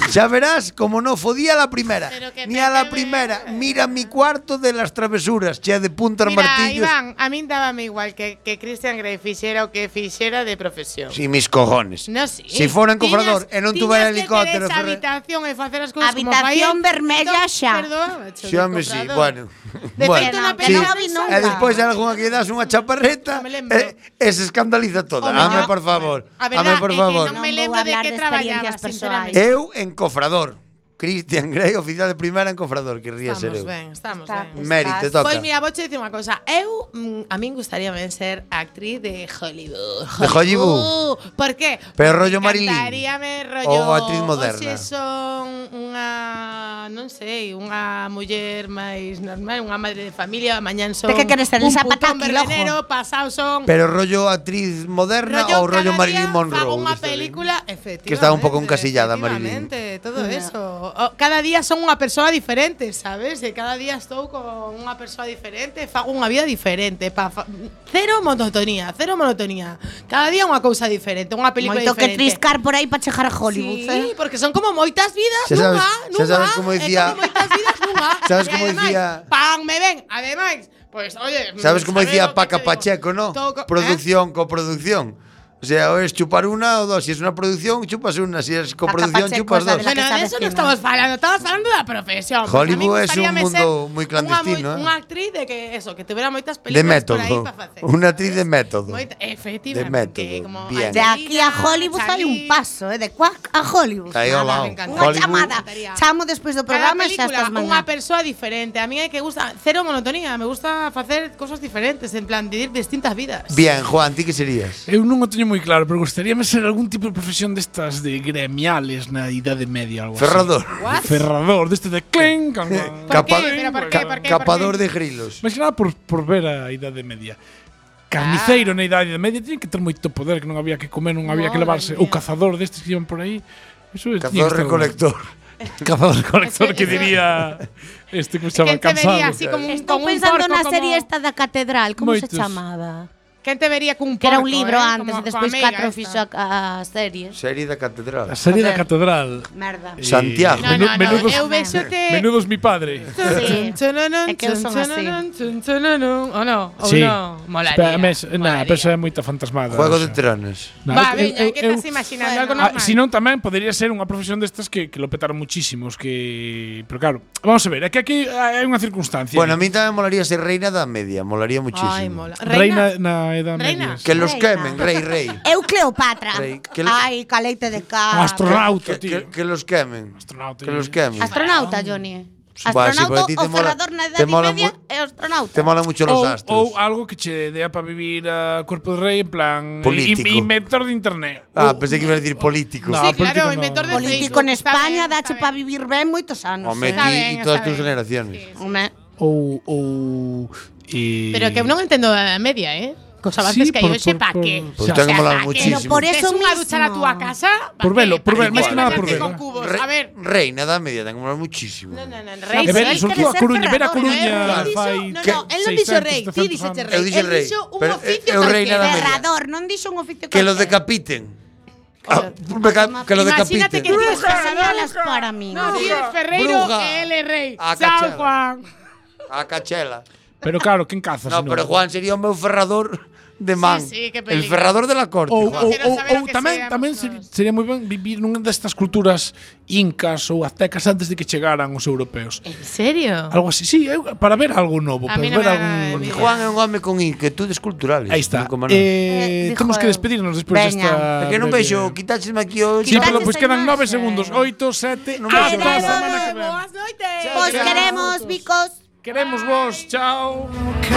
Speaker 5: Xa verás como non fodía a la primera.
Speaker 10: Pero que
Speaker 5: Ni a la
Speaker 10: PTV.
Speaker 5: primera. Mira mi cuarto de las travesuras, chea de puntas
Speaker 10: Mira,
Speaker 5: martillos.
Speaker 10: Iván, a mí dábame igual que, que Christian Grey fixera o que fixera de profesión.
Speaker 5: Si mis cojones.
Speaker 10: No, sí.
Speaker 5: Si fora encofrador e non tuvera helicóptero, ferre-
Speaker 10: Tiñas que querer habitación e facer as cousas como
Speaker 9: Habitación
Speaker 10: fai el-
Speaker 9: vermella
Speaker 10: Entón,
Speaker 9: xa.
Speaker 10: Perdón,
Speaker 5: Si, home, si, bueno.
Speaker 10: De
Speaker 5: bueno,
Speaker 10: feito, na
Speaker 9: que
Speaker 5: sí.
Speaker 10: pena
Speaker 9: non a vi nunca.
Speaker 5: E despois algunha que das unha chaparreta
Speaker 10: Non me lembro.
Speaker 5: e, e se escandaliza toda.
Speaker 10: Home,
Speaker 5: Hame,
Speaker 10: no.
Speaker 5: por favor.
Speaker 10: A
Speaker 5: Hame,
Speaker 10: verdad
Speaker 5: por
Speaker 10: é que
Speaker 5: favor.
Speaker 10: non
Speaker 9: Non
Speaker 10: me
Speaker 9: vou
Speaker 10: lembro de
Speaker 9: hablar
Speaker 10: que
Speaker 9: de
Speaker 10: traballaba,
Speaker 9: experiencias persoais.
Speaker 5: Eu
Speaker 10: sinceramente.
Speaker 5: encofrador. Christian Grey, oficial de primeira encofrador, querría ser eu.
Speaker 10: Estamos ben, estamos
Speaker 9: Está-
Speaker 10: ben.
Speaker 5: Mérite,
Speaker 9: Estás-
Speaker 5: toca.
Speaker 10: Pois Pues mira, vou che dicir unha cousa. Eu, mm, a min gustaría ben ser actriz de Hollywood.
Speaker 5: De Hollywood.
Speaker 10: Por que?
Speaker 5: Pero
Speaker 10: Porque
Speaker 5: rollo Marilyn.
Speaker 10: encantaríame rollo...
Speaker 5: Ou actriz moderna.
Speaker 10: Oxe, son unha... Non sei, unha muller máis normal, unha madre de familia, mañán son...
Speaker 9: De que queres ser,
Speaker 10: un
Speaker 9: Elsa
Speaker 10: putón
Speaker 9: Pataki, loco?
Speaker 10: verbenero, pasado son...
Speaker 5: Pero rollo actriz moderna ou rollo
Speaker 10: cada
Speaker 5: Marilyn
Speaker 10: día
Speaker 5: Monroe.
Speaker 10: Fago unha
Speaker 5: desta de-
Speaker 10: película, efectivamente.
Speaker 5: Que estaba un pouco encasillada, Marilyn.
Speaker 10: efectivamente, todo eso. O- cada día son unha persoa diferente, sabes? E cada día estou con unha persoa diferente, fago unha vida diferente. Pa, fa- cero monotonía, cero monotonía. Cada día unha cousa diferente, unha película
Speaker 9: Moito que
Speaker 10: diferente.
Speaker 9: triscar por aí para chejar a Hollywood,
Speaker 10: Sí,
Speaker 9: eh?
Speaker 10: porque son como moitas vidas
Speaker 5: Xa sabes-
Speaker 10: nunha,
Speaker 5: xa
Speaker 10: nunha.
Speaker 5: sabes como
Speaker 10: é
Speaker 5: dicía-
Speaker 10: como moitas vidas nunha. programa.
Speaker 5: ¿Sabes
Speaker 10: y
Speaker 5: cómo
Speaker 10: ademais,
Speaker 5: decía-
Speaker 10: ¡Pam! Me ven. Además, pues oye.
Speaker 5: ¿Sabes cómo
Speaker 10: ¿sabes lo
Speaker 5: decía
Speaker 10: Mm, que
Speaker 5: Paca
Speaker 10: te digo?
Speaker 5: Pacheco, no?
Speaker 10: Toco- ¿eh?
Speaker 5: Producción, coproducción. O sea, o es chupar una o dos. Si es una producción, chupas una. Si es coproducción,
Speaker 9: Pacheco
Speaker 5: chupas
Speaker 9: es la de
Speaker 5: dos.
Speaker 9: la
Speaker 10: Bueno, de eso no estamos hablando, estamos hablando da profesión. Pues
Speaker 5: Hollywood
Speaker 10: a mí gustaríame
Speaker 5: es un
Speaker 10: ser
Speaker 5: mundo muy clandestino,
Speaker 10: Unha,
Speaker 5: eh.
Speaker 10: unha actriz de que eso, que tuviera moitas
Speaker 5: De
Speaker 10: películas por aí
Speaker 5: método.
Speaker 10: para facer.
Speaker 5: Una actriz de método.
Speaker 10: Moita-
Speaker 5: De
Speaker 10: efectivamente.
Speaker 5: método. Bien.
Speaker 9: De aquí a Hollywood hai un paso, eh, de Quack a Hollywood.
Speaker 5: Aí ao lado.
Speaker 9: Unha
Speaker 5: Hollywood.
Speaker 9: chamada. Chamo despois do
Speaker 10: Cada
Speaker 9: programa e xa
Speaker 10: película,
Speaker 9: estás mañá.
Speaker 10: unha persoa diferente. A mí é que gusta cero monotonía, me gusta facer cosas diferentes, en plan vivir distintas vidas.
Speaker 5: Bien, Juan, ti que serías?
Speaker 8: Eu non o teño moi claro, pero gostaríame ser algún tipo de profesión destas de gremiales na Idade Media algo
Speaker 5: Ferrador.
Speaker 10: What?
Speaker 8: así. Ferrador, deste de clen, can, can.
Speaker 10: Por qué? Pero por qué? Por qué?
Speaker 5: Capador
Speaker 10: por
Speaker 5: de grilos.
Speaker 8: Máis que nada por, por ver a Idade Media.
Speaker 10: Ah.
Speaker 8: Carniceiro na Idade Media tiña que ter moito poder, que non había que comer, non había que
Speaker 10: Madre
Speaker 8: levarse.
Speaker 10: mía.
Speaker 8: O cazador destes que iban por aí. Eso tiña que
Speaker 5: Cazador
Speaker 8: estar bueno.
Speaker 5: recolector.
Speaker 8: Cazador recolector
Speaker 10: Eso-
Speaker 8: que
Speaker 10: eso-
Speaker 8: diría este que se chama
Speaker 10: Que te vería
Speaker 8: cansado.
Speaker 10: así como un,
Speaker 9: Estou
Speaker 10: como un
Speaker 9: pensando
Speaker 10: porco,
Speaker 9: na
Speaker 10: como-
Speaker 9: serie esta da catedral, como se
Speaker 8: Moitos.
Speaker 9: chamaba?
Speaker 10: Quen te vería cun
Speaker 9: Que era un
Speaker 10: porco,
Speaker 9: libro
Speaker 10: eh?
Speaker 9: antes, e
Speaker 10: Como- coa
Speaker 9: despois
Speaker 10: amiga
Speaker 9: catro
Speaker 10: esta.
Speaker 9: fixo a, a serie.
Speaker 5: Serie da catedral.
Speaker 8: A serie da
Speaker 9: A ver.
Speaker 8: catedral. Eh,
Speaker 9: Merda.
Speaker 5: Santiago.
Speaker 10: No, no, no,
Speaker 8: menudos,
Speaker 10: eu vexo que
Speaker 8: menudos mi padre.
Speaker 9: Sí.
Speaker 10: É
Speaker 9: É que eu son así.
Speaker 10: Ou non? Ou
Speaker 8: Sí.
Speaker 10: non? Molaría.
Speaker 8: Espera, mes, na,
Speaker 10: molaría.
Speaker 8: pero é moita fantasmada.
Speaker 5: Juego
Speaker 8: o
Speaker 5: de
Speaker 8: sea.
Speaker 5: tronos.
Speaker 8: Na,
Speaker 10: Va,
Speaker 8: eu-
Speaker 10: veña,
Speaker 8: eu-
Speaker 10: que
Speaker 8: eu-
Speaker 10: estás imaginando algo
Speaker 8: Ah,
Speaker 10: normal.
Speaker 8: si non tamén podería ser unha profesión destas que, que lo petaron muchísimos que pero claro, vamos a ver, é que aquí hai unha circunstancia.
Speaker 5: Bueno, a mí tamén molaría ser reina da media. Molaría muchísimo.
Speaker 10: Ai, mola.
Speaker 8: reina, na edad
Speaker 10: Reina.
Speaker 8: media.
Speaker 5: Que los quemen,
Speaker 9: Reina.
Speaker 5: rey, rey.
Speaker 9: Eu Cleopatra.
Speaker 5: Rei, que le-
Speaker 9: Ai, caleite de
Speaker 10: Ah,
Speaker 9: cara.
Speaker 8: Astronauta,
Speaker 5: Que, que,
Speaker 8: tío.
Speaker 5: que los quemen.
Speaker 8: Astronauta,
Speaker 5: Que
Speaker 8: yo.
Speaker 5: los quemen.
Speaker 9: Astronauta, Johnny.
Speaker 5: Va, si por
Speaker 9: Astronauta
Speaker 5: ti te
Speaker 9: ou
Speaker 5: mola-
Speaker 9: ferrador na
Speaker 5: te
Speaker 9: idade
Speaker 5: mola
Speaker 9: media
Speaker 5: mu-
Speaker 9: e astronauta.
Speaker 5: Te mola mucho los
Speaker 8: Ou,
Speaker 5: astros.
Speaker 8: ou algo que che dea para vivir a cuerpo de rei en plan
Speaker 5: Político.
Speaker 8: in- inventor de internet.
Speaker 5: ah,
Speaker 8: Ou-
Speaker 5: pensé que iba a decir político.
Speaker 8: No,
Speaker 10: Ah, Sí,
Speaker 8: político
Speaker 10: claro,
Speaker 8: no.
Speaker 10: inventor de
Speaker 9: Político en
Speaker 10: Facebook,
Speaker 9: España
Speaker 10: está ben,
Speaker 9: dache
Speaker 10: está
Speaker 9: para
Speaker 10: ben.
Speaker 9: vivir ben moitos anos.
Speaker 5: Home,
Speaker 9: eh.
Speaker 10: Está
Speaker 5: ti
Speaker 10: ben,
Speaker 5: e todas
Speaker 10: está
Speaker 5: tus
Speaker 10: ben.
Speaker 5: generaciones.
Speaker 10: Sí, sí.
Speaker 9: Home,
Speaker 8: ou ou eh,
Speaker 10: Pero que eu non entendo a media, eh? Cos
Speaker 8: sí,
Speaker 10: avances que hai
Speaker 8: por-
Speaker 10: hoxe,
Speaker 8: por-
Speaker 10: pa
Speaker 8: por-
Speaker 10: que?
Speaker 5: Pues ten que molar
Speaker 10: pa que?
Speaker 5: muchísimo.
Speaker 9: Pero por eso
Speaker 10: Tes unha
Speaker 9: mismo.
Speaker 10: duchar a túa casa? pa
Speaker 8: Por
Speaker 10: que-
Speaker 8: velo, por
Speaker 10: pa
Speaker 8: ver, máis que nada por
Speaker 10: bañarte
Speaker 8: ver,
Speaker 10: con
Speaker 8: eh.
Speaker 10: Cubos.
Speaker 5: Re-
Speaker 10: A ver.
Speaker 5: Reina da media, ten que molar muchísimo.
Speaker 10: No, no, no,
Speaker 8: E
Speaker 10: rei.
Speaker 8: ver,
Speaker 9: Él
Speaker 8: sobre
Speaker 9: quere
Speaker 8: todo a
Speaker 9: ser
Speaker 8: Coruña, ver a
Speaker 9: ferrador,
Speaker 10: eh,
Speaker 8: Coruña
Speaker 10: dixo-
Speaker 8: fai
Speaker 10: no, no,
Speaker 8: que-
Speaker 10: él non dixo
Speaker 8: 600,
Speaker 10: rei, ti
Speaker 8: 700
Speaker 10: dixete
Speaker 8: anos.
Speaker 10: rei.
Speaker 5: Eu dixen
Speaker 10: Él
Speaker 5: rei,
Speaker 10: dixo un
Speaker 5: pero eh,
Speaker 10: oficio
Speaker 5: eu- eu reina da
Speaker 10: cualquiera.
Speaker 5: media.
Speaker 9: ferrador, non dixo un oficio
Speaker 5: Que los
Speaker 9: cualquiera.
Speaker 5: decapiten. Ah, me ca- que los
Speaker 10: Imagínate que
Speaker 5: decapiten.
Speaker 10: tienes
Speaker 9: Bruja,
Speaker 10: Ferreiro-
Speaker 9: señalas para mí. Pues
Speaker 10: No, tienes Ferreiro
Speaker 5: Bruja.
Speaker 10: L. Rey.
Speaker 5: Ah,
Speaker 10: San
Speaker 5: cachada.
Speaker 10: Juan.
Speaker 5: A cachela.
Speaker 8: Pero claro, quen caza
Speaker 5: No,
Speaker 8: senón?
Speaker 5: pero Juan sería o meu ferrador de man.
Speaker 10: sí, qué
Speaker 5: el
Speaker 10: peligro. Oh,
Speaker 5: ferrador de la corte,
Speaker 8: Ou,
Speaker 5: Juan.
Speaker 8: ou,
Speaker 10: Quero
Speaker 8: ou,
Speaker 10: saber o
Speaker 8: ou
Speaker 10: que
Speaker 8: tamén,
Speaker 10: seamos
Speaker 8: tamén
Speaker 10: nós.
Speaker 8: ser, sería moi ben vivir nunha destas culturas incas ou aztecas antes de que chegaran os europeos.
Speaker 10: ¿En serio?
Speaker 8: Algo así, sí, eu- para ver algo novo,
Speaker 10: Eh. A
Speaker 8: para
Speaker 10: mí non
Speaker 8: ver
Speaker 10: me
Speaker 8: algún...
Speaker 10: agrada,
Speaker 5: Juan é un home con inquietudes culturales.
Speaker 8: Aí está.
Speaker 5: Como non.
Speaker 9: Eh,
Speaker 8: Eh,
Speaker 9: dijo
Speaker 8: temos que
Speaker 9: eu.
Speaker 8: despedirnos despois
Speaker 9: Veña.
Speaker 8: desta...
Speaker 5: É que non vexo, quitáchesme aquí o...
Speaker 8: Sí, pero
Speaker 9: Quitáchese
Speaker 8: pois quedan nove
Speaker 9: imaxe.
Speaker 8: segundos. Oito, sete,
Speaker 5: Non vexo
Speaker 8: ata a
Speaker 9: nada.
Speaker 8: semana que ven.
Speaker 10: Buenas noites.
Speaker 9: Os queremos, bicos.
Speaker 8: Queremos vos, chao.